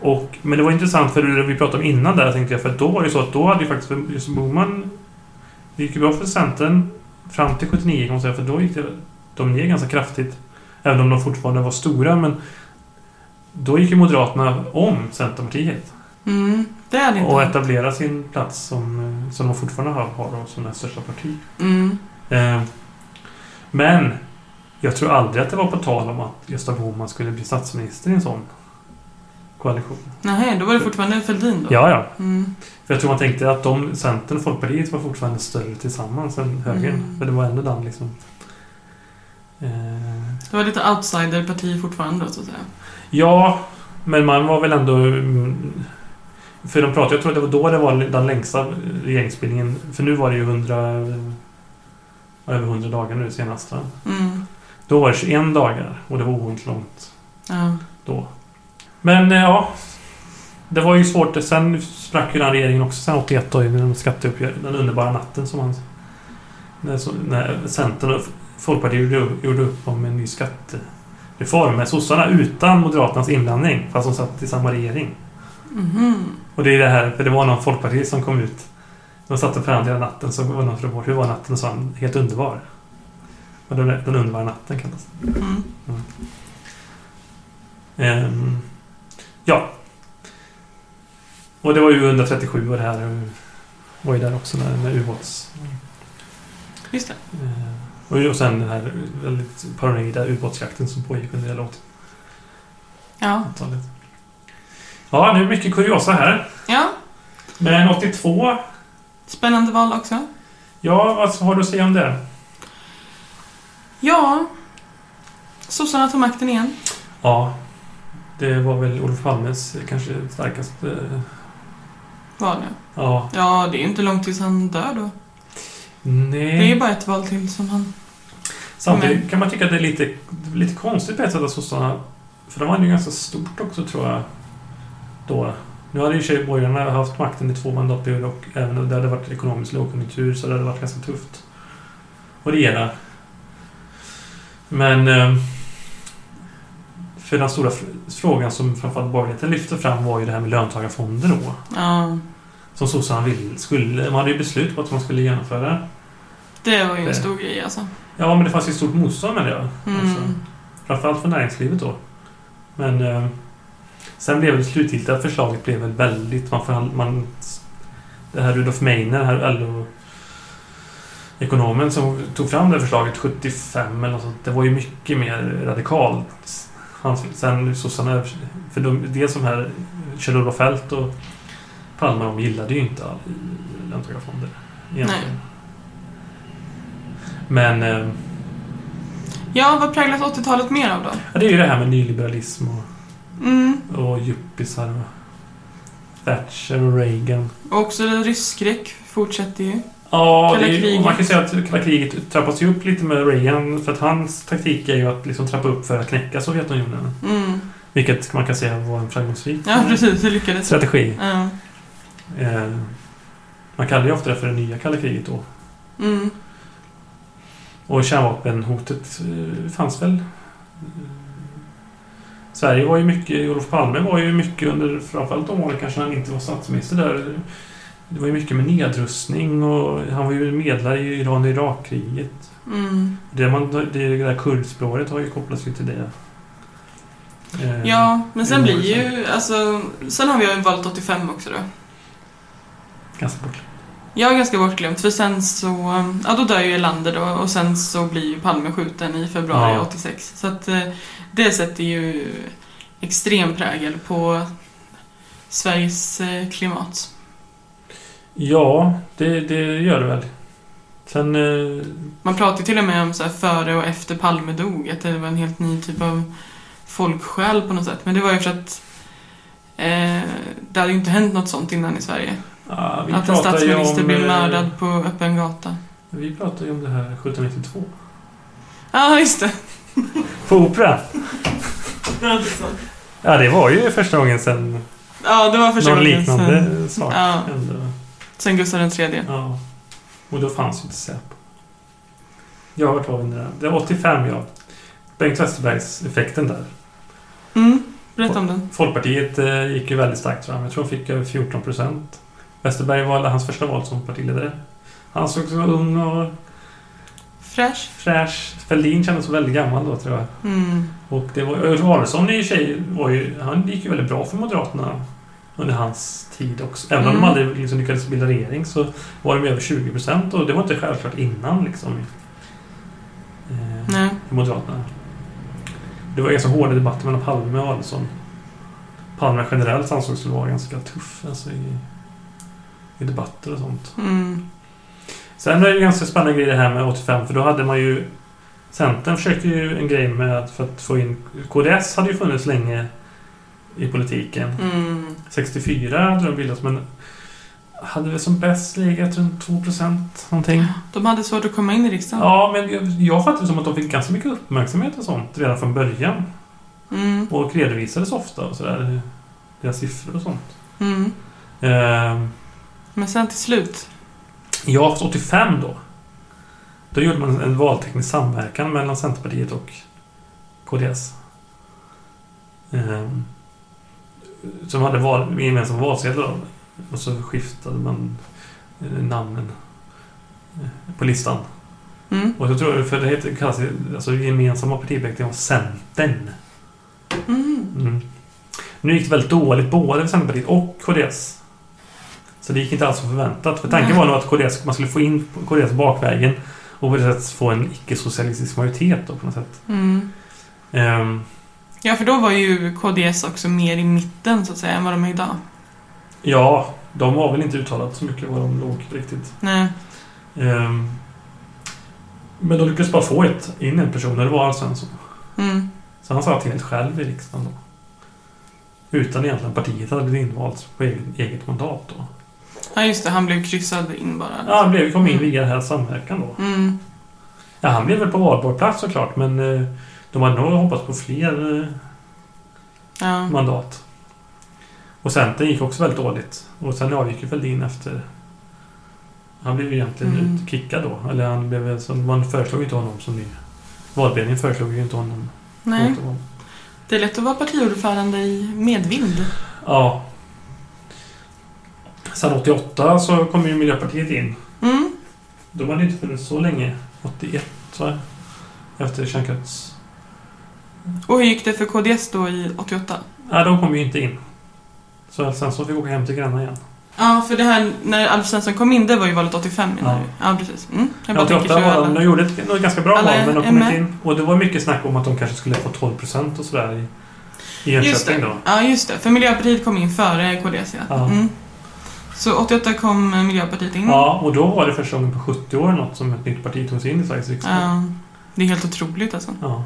Speaker 2: Och, men det var intressant för det vi pratade om innan där tänkte jag. För då var det ju så att då hade ju faktiskt för just Boman... Det gick ju bra för Centern fram till 79 kan man säga. För då gick det, de ner ganska kraftigt. Även om de fortfarande var stora. Men då gick ju Moderaterna om Centerpartiet.
Speaker 1: Mm. Det hade inte
Speaker 2: Och
Speaker 1: hänt.
Speaker 2: etablerade sin plats som, eh, som de fortfarande har, har då, som det största parti.
Speaker 1: Mm.
Speaker 2: Eh, men jag tror aldrig att det var på tal om att Gösta Bohman skulle bli statsminister i en sån koalition.
Speaker 1: Nej, då var det fortfarande Fälldin då?
Speaker 2: Ja, ja.
Speaker 1: Mm.
Speaker 2: För jag tror man tänkte att de, Centern och Folkpartiet var fortfarande större tillsammans än högern.
Speaker 1: Mm.
Speaker 2: För det var ändå den liksom... Eh,
Speaker 1: Det var lite outsiderparti fortfarande då, så att säga.
Speaker 2: ja, men man var väl ändå... mm, För de pratade, jag tror att det var då det var den längsta regeringsbildningen. För nu var det ju 100... eh, Över 100 dagar nu senast. va?
Speaker 1: Mm.
Speaker 2: Då var det 21 dagar och det var oerhört långt.
Speaker 1: Ja.
Speaker 2: Men eh, ja. Det var ju svårt. Sen sprack ju den regeringen också sen 81 då, i den skatteuppgörelsen. Den underbara natten som han... När, så- när Centern och Folkpartiet gjorde, gjorde upp om en ny skattereform med sossarna utan Moderaternas inblandning. Fast de satt i samma regering.
Speaker 1: Mhm.
Speaker 2: Och det är det här, för det var någon folkpartist som kom ut. De satt och förhandlade hela natten, så var någon från vårt, hur var natten? sa han, helt underbar. Och den, den underbara natten kallas
Speaker 1: Mm.
Speaker 2: Ehm, ja. Och det var ju 137 och det här eh, var ju där också när, när ubåts...
Speaker 1: Just det.
Speaker 2: eh, och ju- och sen den här väldigt paranoida ubåtsjakten som pågick under hela
Speaker 1: Ja.
Speaker 2: 80-talet. Ja, det är mycket kuriosa här.
Speaker 1: Ja.
Speaker 2: Men 82?
Speaker 1: Spännande val också.
Speaker 2: Ja, vad har du att säga om det?
Speaker 1: Ja, sossarna tar makten igen.
Speaker 2: Ja. Det var väl Olof Palmes kanske starkaste... eh,
Speaker 1: Val, ja.
Speaker 2: Ja.
Speaker 1: ja, det är ju inte långt tills han dör då.
Speaker 2: Nej.
Speaker 1: Det är ju bara ett val till som han...
Speaker 2: Samtidigt
Speaker 1: Men-
Speaker 2: kan man tycka att det är lite, lite konstigt på ett sätt att sossarna... För de hade ju ganska stort också, tror jag. Då. Nu hade ju i och för sig borgarna haft makten i två mandatperioder och även om det hade varit ekonomisk lågkonjunktur så det hade varit ganska tufft att regera. Men... eh, För den stora fr- frågan som framförallt borgerligheten lyfte fram var ju det här med löntagarfonder då.
Speaker 1: Ja,
Speaker 2: Som sossarna vill, skulle... Man hade ju beslut på att man skulle genomföra.
Speaker 1: det var ju en
Speaker 2: Det.
Speaker 1: stor grej alltså.
Speaker 2: Ja, men det fanns ju ett stort motstånd med det. Alltså.
Speaker 1: Mm.
Speaker 2: Framförallt för näringslivet då. Men eh, sen blev det slutgiltiga förslaget blev väl väldigt... Man förhand, man, det här Rudolf Meiner, den här LO-ekonomen som tog fram det här förslaget 75 eller något sånt. Det var ju mycket mer radikalt. Han, sen sossarna... För de, det som här Kjell-Olof Feldt och Palme de gillade ju inte all, löntagarfonder. Egentligen. Men... Eh,
Speaker 1: Ja, vad präglas 80-talet mer av då?
Speaker 2: ja, det är ju det här med nyliberalism och
Speaker 1: Mm.
Speaker 2: Och yuppisar och Thatcher och Reagan.
Speaker 1: Och också rysskräck fortsätter ju.
Speaker 2: Ja, det
Speaker 1: Kalla
Speaker 2: är, ju-
Speaker 1: kriget.
Speaker 2: man kan säga att kalla kriget trappas ju upp lite med Reagan. För att hans taktik är ju att liksom trappa upp för att knäcka Sovjetunionen.
Speaker 1: Mm.
Speaker 2: Vilket man kan säga var en framgångsrik
Speaker 1: Ja, <laughs> precis. Det lyckades.
Speaker 2: strategi.
Speaker 1: Ja.
Speaker 2: Eh, man kallar ju ofta det för det nya kalla kriget då.
Speaker 1: Mm.
Speaker 2: Och kärnvapenhotet eh, fanns väl. Eh, Sverige var ju mycket, Olof Palme var ju mycket under framförallt de åren kanske när han inte var statsminister där. Det var ju mycket med nedrustning och han var ju medlare i Iran och Irakkriget.
Speaker 1: Mm.
Speaker 2: Det, man, det där kurdspråket har ju kopplats ju till det. Eh,
Speaker 1: Ja, men sen
Speaker 2: det
Speaker 1: blir
Speaker 2: var det
Speaker 1: ju... Alltså, sen har vi ju valt 85 också då.
Speaker 2: Ganska bort.
Speaker 1: Jag är ganska bortglömt för sen så, ja då dör ju Erlander då och sen så blir ju Palme skjuten i februari
Speaker 2: Ja.
Speaker 1: 86. Så att eh, det sätter ju extrem prägel på Sveriges eh, klimat.
Speaker 2: Ja, det, det gör det väl. Sen... Eh,
Speaker 1: Man pratar ju till och med om så här före och efter Palme dog, att det var en helt ny typ av folksjäl på något sätt. Men det var ju för att eh, det hade ju inte hänt något sånt innan i Sverige.
Speaker 2: ah, vi
Speaker 1: Att en
Speaker 2: pratar ju
Speaker 1: statsminister
Speaker 2: om,
Speaker 1: blev
Speaker 2: eh,
Speaker 1: mördad på öppen gata.
Speaker 2: Vi pratar ju om det här 1792.
Speaker 1: Ja, just det.
Speaker 2: På opera?
Speaker 1: Ja, det är sant.
Speaker 2: Ja, det var ju första gången sen
Speaker 1: Ja, det var första
Speaker 2: någon
Speaker 1: gången sen-
Speaker 2: liknande sak
Speaker 1: Ja.
Speaker 2: hände.
Speaker 1: Sen Gustav den tredje.
Speaker 2: Ja. Och då fanns ju inte Säpo. Jag vart var vi nu där? Det var 85, ja. Bengt Westerbergs-effekten där.
Speaker 1: Mm, berätta om den.
Speaker 2: Folkpartiet eh, gick ju väldigt starkt fram. Jag tror de fick över 14 procent. Westerberg var hans första val som partiledare. Han såg så ung och
Speaker 1: Fräsch.
Speaker 2: fräsch. Fälldin kändes väldigt gammal då, tror jag.
Speaker 1: Mm.
Speaker 2: Och det var Ulf Adelsohn i och för sig var ju, han gick ju väldigt bra för Moderaterna under hans tid också. Även om
Speaker 1: Mm.
Speaker 2: de aldrig liksom lyckades bilda regering så var de över 20 procent och det var inte självklart innan liksom. Eh,
Speaker 1: Nej.
Speaker 2: för Moderaterna. Det var ganska hårda debatter mellan Palme och Adelsohn. Palme generellt ansågs vara ganska tuff alltså, i, i debatter och sånt.
Speaker 1: Mm.
Speaker 2: Sen är det ju ganska spännande grej det här med 85, för då hade man ju... Centern försökte ju en grej med att, för att få in... KDS hade ju funnits länge i politiken.
Speaker 1: Mm.
Speaker 2: 64 hade de bildats, men hade väl som bäst legat runt 2% någonting.
Speaker 1: De hade svårt att komma in i riksdagen.
Speaker 2: Ja, men jag, jag fattar det som att de fick ganska mycket uppmärksamhet och sånt redan från början.
Speaker 1: Mm.
Speaker 2: Och redovisades ofta och sådär. Deras siffror och sånt.
Speaker 1: Mm.
Speaker 2: Ehm,
Speaker 1: Men sen till slut.
Speaker 2: Ja, 85 då. Då gjorde man en valteknisk samverkan mellan Centerpartiet och KDS. Ehm, som hade val, gemensam valsedel då. Och så skiftade man eh, namnen eh, på listan.
Speaker 1: Mm.
Speaker 2: Och jag tror jag, för det heter, kallas ju- alltså gemensamma partibeteckningen var Centern.
Speaker 1: Mm.
Speaker 2: Mm. Nu gick det väldigt dåligt både för Centerpartiet och KDS. Så det gick inte alls som förväntat. För tanken
Speaker 1: Nej.
Speaker 2: var nog att KDS, man skulle få in KDS bakvägen och på det sättet få en icke-socialistisk majoritet då, på något sätt.
Speaker 1: Mm.
Speaker 2: Ehm,
Speaker 1: Ja, för då var ju KDS också mer i mitten så att säga än vad de är idag.
Speaker 2: ja, De har väl inte uttalat så mycket var de låg riktigt.
Speaker 1: Nej.
Speaker 2: Ehm, Men de lyckades bara få ett, in en person och det var Alf Svensson.
Speaker 1: Mm.
Speaker 2: Så han satt helt själv i riksdagen då. Utan egentligen partiet hade blivit invalt på eget, eget mandat då.
Speaker 1: Ja, just det. Han blev kryssad in bara.
Speaker 2: Ja, han blev, kom in via den här samverkan då.
Speaker 1: Mm.
Speaker 2: Ja, han blev väl på valbar plats såklart men eh, de hade nog hoppats på fler eh,
Speaker 1: Ja.
Speaker 2: mandat. Och Centern gick också väldigt dåligt. Och sen avgick ju Fälldin efter... Han blev ju egentligen
Speaker 1: Mm.
Speaker 2: utkickad då. Eller han blev väl som... Man föreslog ju inte honom som ny. Valberedningen föreslog ju inte honom.
Speaker 1: Nej.
Speaker 2: Åter honom.
Speaker 1: Det är lätt att vara partiordförande i medvind.
Speaker 2: Ja. Sen 88 så kom ju Miljöpartiet in.
Speaker 1: Mm.
Speaker 2: De hade ju inte funnits så länge. 81 va? Efter kärnkrafts...
Speaker 1: Och hur gick det för KDS då i 88?
Speaker 2: Nej, de kom ju inte in. Så sen så fick vi åka hem till Gränna igen.
Speaker 1: Ja, för det här när Alf Svensson kom in, det var ju valet 85 menar
Speaker 2: Ja.
Speaker 1: du? Ja, precis. Mm. Jag bara
Speaker 2: Jag
Speaker 1: tänker så
Speaker 2: tror
Speaker 1: hur
Speaker 2: att de
Speaker 1: alla...
Speaker 2: gjorde ett, något ganska bra
Speaker 1: Alla
Speaker 2: val, men de
Speaker 1: är
Speaker 2: kom inte in. Och det var mycket snack om att de kanske skulle få 12 procent och sådär i, i
Speaker 1: Just
Speaker 2: Enköping då.
Speaker 1: det. Ja, just det. För Miljöpartiet kom in före KDS, ja.
Speaker 2: Ja.
Speaker 1: Mm. Så 88 kom eh, Miljöpartiet in.
Speaker 2: Ja, och då var det första gången på 70 år något som ett nytt parti togs in i Sveriges riksdag.
Speaker 1: Ja. Det är helt otroligt alltså.
Speaker 2: Ja.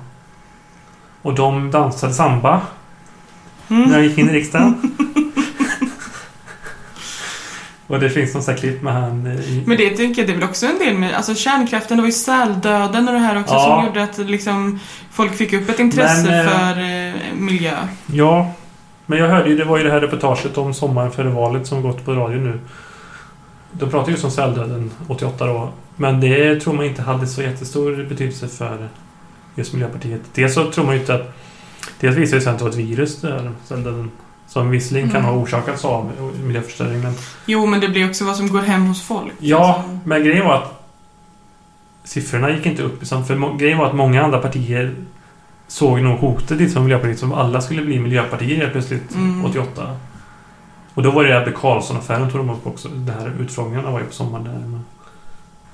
Speaker 2: Och de dansade samba
Speaker 1: Mm.
Speaker 2: när de gick in i riksdagen.
Speaker 1: <laughs>
Speaker 2: och det finns någon sån här klipp med han eh, i...
Speaker 1: Men det tänker jag, det är väl också en del med, alltså kärnkraften, det var ju säldöden och det här också
Speaker 2: Ja.
Speaker 1: som gjorde att liksom folk fick upp ett intresse
Speaker 2: Men, eh,
Speaker 1: för eh, miljö.
Speaker 2: Ja, men jag hörde ju, det var ju det här reportaget om sommaren före valet som gått på radio nu. De pratar ju som säldöden 88 då. Men det tror man inte hade så jättestor betydelse för just Miljöpartiet. Dels så tror man ju inte att... Dels visar det sig att det var ett virus det här säldöden. Som visserligen kan
Speaker 1: Mm.
Speaker 2: ha orsakats av miljöförstöring. Men,
Speaker 1: Jo, men det blir också vad som går hem hos folk.
Speaker 2: ja,
Speaker 1: Alltså,
Speaker 2: men grejen var att siffrorna gick inte upp. Utan för må- grejen var att många andra partier såg nog hotet liksom, Miljöpartiet som alla skulle bli Miljöpartier helt plötsligt.
Speaker 1: mm.
Speaker 2: 88. Och då var det där med Karlsson-affären tog de upp också. Den här utfrågningarna var ju på sommaren där. Men,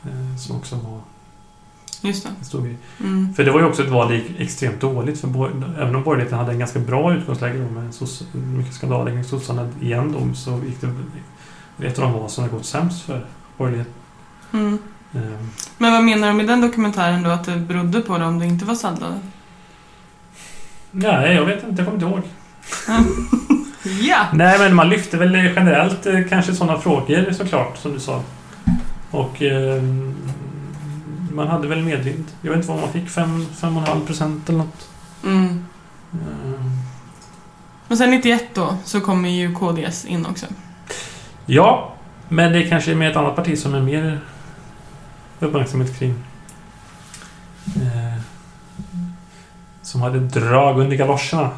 Speaker 2: eh, som också var
Speaker 1: Just det.
Speaker 2: en stor grej.
Speaker 1: Mm.
Speaker 2: För det var ju också ett val det gick extremt dåligt. För bor- även om borgerligheten hade en ganska bra utgångsläge då med sos- mycket skandaler kring sossarna igen då, så gick det det är ett av de val som har gått sämst för borgerligheten.
Speaker 1: Mm.
Speaker 2: Eh,
Speaker 1: Men vad menar de i den dokumentären då, att det berodde på det om det inte var säldöden?
Speaker 2: nej, jag vet inte. Jag kommer inte ihåg.
Speaker 1: Ja!
Speaker 2: Nej, men man lyfte väl generellt eh, kanske sådana frågor såklart, som du sa. Och eh, man hade väl medvind. Jag vet inte vad man fick, fem- fem och en halv procent eller något.
Speaker 1: Mm.
Speaker 2: Eh,
Speaker 1: Men sen 91 då, så kommer ju KDS in också.
Speaker 2: ja, men det kanske är med ett annat parti som är mer uppmärksamhet kring. Eh, som hade drag under galoscherna.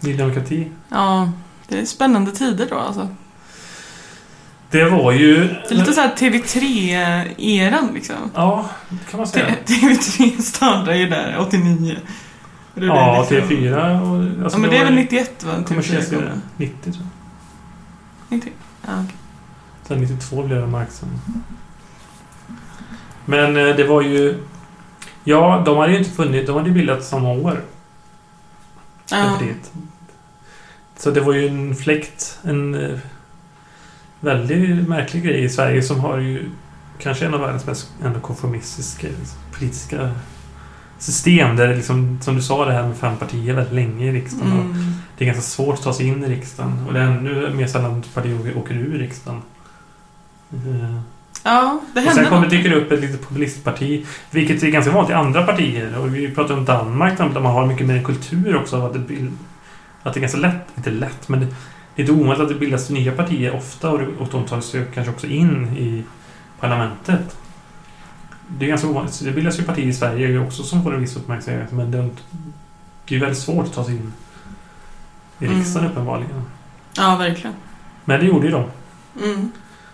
Speaker 2: Ny demokrati.
Speaker 1: Ja, det är spännande tider då alltså.
Speaker 2: Det var ju...
Speaker 1: Det är lite såhär TV3-eran eh, liksom.
Speaker 2: Ja, kan man säga.
Speaker 1: T- <laughs> TV3 startade ju där 89. Och det
Speaker 2: Ja,
Speaker 1: blev liksom-
Speaker 2: T4 och... alltså
Speaker 1: ja, men det är
Speaker 2: var-
Speaker 1: väl 91 va?
Speaker 2: Kommersiellt
Speaker 1: kom?
Speaker 2: blev det 90 tror jag.
Speaker 1: 90. Ja, okej.
Speaker 2: Sen 92 blev det Marxen. Men eh, det var ju... Ja, de hade ju inte funnits. De hade ju bildats samma år.
Speaker 1: ja.
Speaker 2: Partiet. Så det var ju en fläkt. En eh, väldigt märklig grej i Sverige som har ju kanske en av världens mest ändå konformistiska liksom, politiska system. Där det liksom, som du sa, det här med fem partier väldigt länge i riksdagen. och
Speaker 1: Mm.
Speaker 2: Det är ganska svårt att ta sig in i riksdagen och det är ännu mer sällan att partier åker ur riksdagen. Eh,
Speaker 1: ja, det
Speaker 2: Och
Speaker 1: hände
Speaker 2: sen kommer
Speaker 1: något.
Speaker 2: dyker det upp ett litet populistparti, vilket är ganska vanligt i andra partier. Och vi pratar om Danmark till exempel, där man har mycket mer en kultur också. av Att det, bild, att det är ganska lätt, inte lätt, men det det är lite ovanligt att det bildas nya partier ofta och, det- och de tar sig kanske också in i parlamentet. Det är ganska ovanligt. Så Det bildas ju partier i Sverige också som får en viss uppmärksamhet, men det är inte- det är ju väldigt svårt att ta sig in i riksdagen
Speaker 1: Mm.
Speaker 2: uppenbarligen.
Speaker 1: Ja, verkligen.
Speaker 2: Men det gjorde ju de.
Speaker 1: Mm.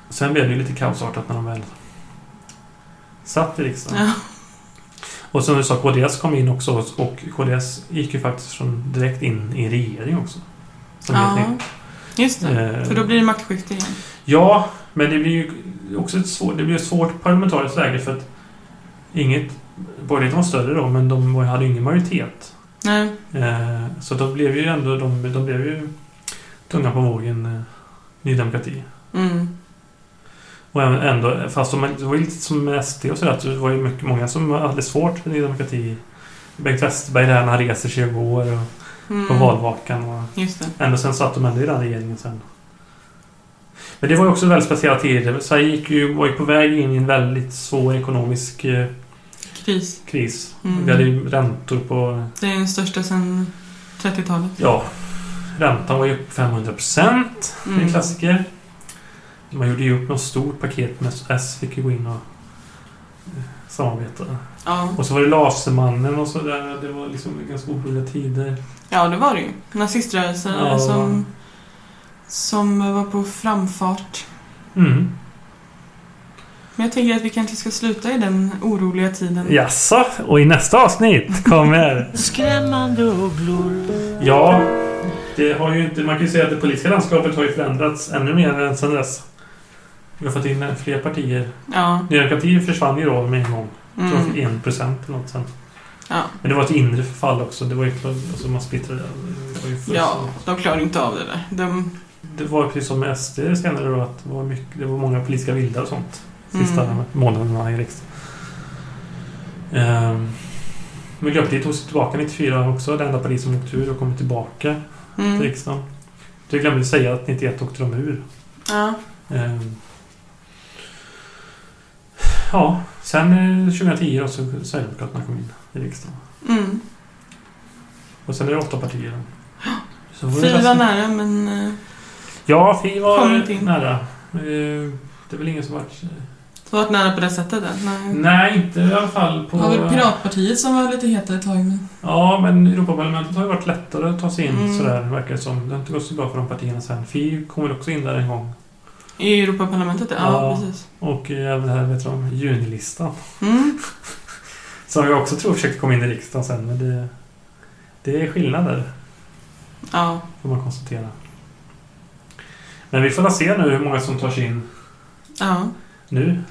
Speaker 2: Sen blev det ju lite kaosartat när de väl satt i riksdagen.
Speaker 1: Ja.
Speaker 2: Och som du sa, KDS kom in också och KDS gick ju faktiskt från, direkt in i en regering också. Som helt
Speaker 1: ja.
Speaker 2: nytt.
Speaker 1: Just det.
Speaker 2: Eh,
Speaker 1: För då blir det maktskifte igen.
Speaker 2: Ja, men det blir ju också ett svårt, det blir ett svårt parlamentariskt läge för att inget... Borgerligheten var större då, men de var- hade ju ingen majoritet.
Speaker 1: Nej.
Speaker 2: Eh, Så då blev ju ändå de, de blev ju tunga på vågen eh, Ny Demokrati.
Speaker 1: Mm.
Speaker 2: Och även- ändå, fast om man, det var ju lite som med SD och sådär, så det var ju mycket, många som hade svårt med Ny Demokrati. Bengt Westerberg där när han reser sig och går och,
Speaker 1: Mm.
Speaker 2: på valvakan. Och,
Speaker 1: Just det.
Speaker 2: ändå sen satt de ändå i den regeringen sen. Men det var ju också väldigt speciella tider. Sverige gick ju, var ju på väg in i en väldigt svår ekonomisk eh,
Speaker 1: Kris.
Speaker 2: kris.
Speaker 1: Mm.
Speaker 2: Vi hade ju räntor på...
Speaker 1: Det är den största sedan 30-talet.
Speaker 2: Ja, räntan var ju upp 500 procent. Det
Speaker 1: Mm.
Speaker 2: är en klassiker. Man gjorde ju upp något stort paket med S, fick ju gå in och eh, samarbeta.
Speaker 1: Ja.
Speaker 2: Och så var det Lasermannen och sådär. Det var liksom ganska oroliga tider.
Speaker 1: ja, det var det ju. Naziströrelsen
Speaker 2: Ja.
Speaker 1: som, som var på framfart.
Speaker 2: Mm.
Speaker 1: Men jag tänker att vi kanske ska sluta i den oroliga tiden.
Speaker 2: Jaså? Och i nästa avsnitt kommer...
Speaker 4: Skrämmande ugglor
Speaker 2: Ja, det har ju inte, man kan ju säga att det politiska landskapet har ju förändrats ännu mer än sedan dess. Vi har fått in fler partier.
Speaker 1: Ja.
Speaker 2: Nya Demokrati försvann ju då med en gång. Jag tror de
Speaker 1: Mm.
Speaker 2: fick 1 procent eller något sen.
Speaker 1: Ja.
Speaker 2: Men det var ett inre förfall också. Det var ju klart, alltså man splittrade. Det var ju först-
Speaker 1: ja, de klarar inte av det där. De, mm.
Speaker 2: Det var ju precis som med SD senare då, att det var, mycket, det var många politiska vildar och sånt. Sista
Speaker 1: Mm.
Speaker 2: månaderna i riksdagen. Ehm, Miljöpartiet tog sig tillbaka 94 också. Det enda parti som åkte ur och kommit tillbaka. till
Speaker 1: mm.
Speaker 2: riksdagen. Jag glömde säga att 91 åkte de ur.
Speaker 1: Ja.
Speaker 2: Ehm. Ja, sen eh, 2010 då så Sverigedemokraterna kom in i riksdagen.
Speaker 1: Mm.
Speaker 2: Och sen är det åtta partier. Så var det
Speaker 1: Fy var
Speaker 2: nästan-
Speaker 1: nära, men... eh,
Speaker 2: Ja, Fi
Speaker 1: Kom inte
Speaker 2: var
Speaker 1: in.
Speaker 2: nära. Ehm, Det är väl ingen som varit...
Speaker 1: Det var nära på det sättet. Där. Nej.
Speaker 2: Nej, inte i alla fall på...
Speaker 1: Det var väl Piratpartiet som var lite heta ett tag. Men...
Speaker 2: Ja, men Europaparlamentet har ju varit lättare att ta sig in
Speaker 1: Mm.
Speaker 2: sådär, verkar det som. Det har inte gått så bra för de partierna sen. Fi kom väl också in där en gång.
Speaker 1: I Europaparlamentet, ja. ja.
Speaker 2: Ja.
Speaker 1: precis.
Speaker 2: Och eh, även det här, vet du om, junilistan.
Speaker 1: Mm.
Speaker 2: Som jag också tror försökte komma in i riksdagen sen, men det, det är skillnader,
Speaker 1: Ja.
Speaker 2: får man konstatera. Men vi får väl se nu hur många som tar sig in
Speaker 1: ja.
Speaker 2: nu.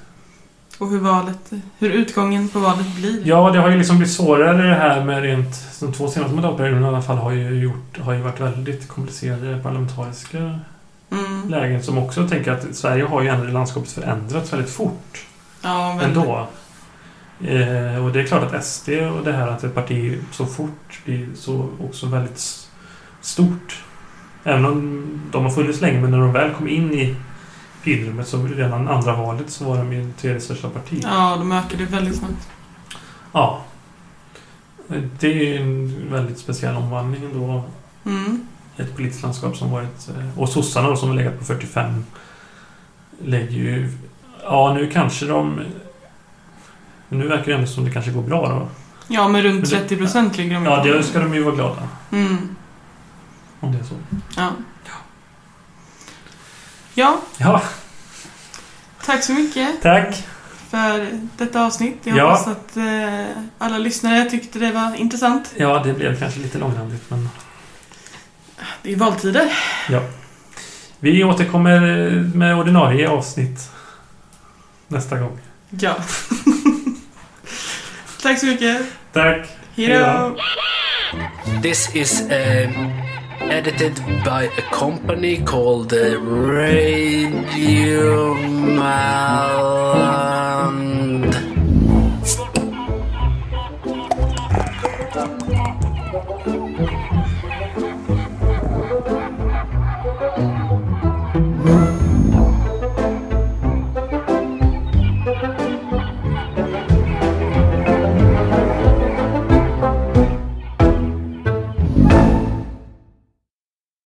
Speaker 1: Och hur valet... Hur utgången på valet blir.
Speaker 2: Ja, det har ju liksom blivit svårare det här med rent... De två senaste mandatperioderna i alla fall har ju, gjort, har ju varit väldigt komplicerade parlamentariska
Speaker 1: Mm.
Speaker 2: lägen som också tänker att Sverige har ju ändå landskapet förändrats väldigt fort
Speaker 1: Ja, väldigt.
Speaker 2: ändå. Eh, och det är klart att SD och det här att ett parti så fort blir så också väldigt s- stort. Även om de har funnits länge, men när de väl kom in i finrummet så redan andra valet så var de ju tredje största parti.
Speaker 1: Ja, de ökade väldigt snabbt.
Speaker 2: Ja. Det är ju en väldigt speciell omvandling då.
Speaker 1: Mm.
Speaker 2: Ett politiskt landskap som varit... eh, Och sossarna då, som har legat på 45 lägger ju... Ja, nu kanske de... Nu verkar det ändå som det kanske går bra då.
Speaker 1: Ja, men runt
Speaker 2: Men det-
Speaker 1: 30 procent ligger de
Speaker 2: Ja,
Speaker 1: på.
Speaker 2: det ska de ju vara glada
Speaker 1: Mm.
Speaker 2: om det är så.
Speaker 1: Ja. Ja,
Speaker 2: Ja,
Speaker 1: tack så mycket
Speaker 2: tack!
Speaker 1: för detta avsnitt. Jag
Speaker 2: Ja.
Speaker 1: hoppas att eh, alla lyssnare tyckte det var intressant.
Speaker 2: Ja, det blev kanske lite långrandigt, men
Speaker 1: Det är valtider.
Speaker 2: vi återkommer eh, med ordinarie avsnitt nästa gång.
Speaker 1: Ja. <laughs> tack så mycket.
Speaker 2: Tack!
Speaker 1: Hej
Speaker 2: Hej
Speaker 1: då!
Speaker 2: då.
Speaker 4: This is um, edited by a company called uh, Radio Mal.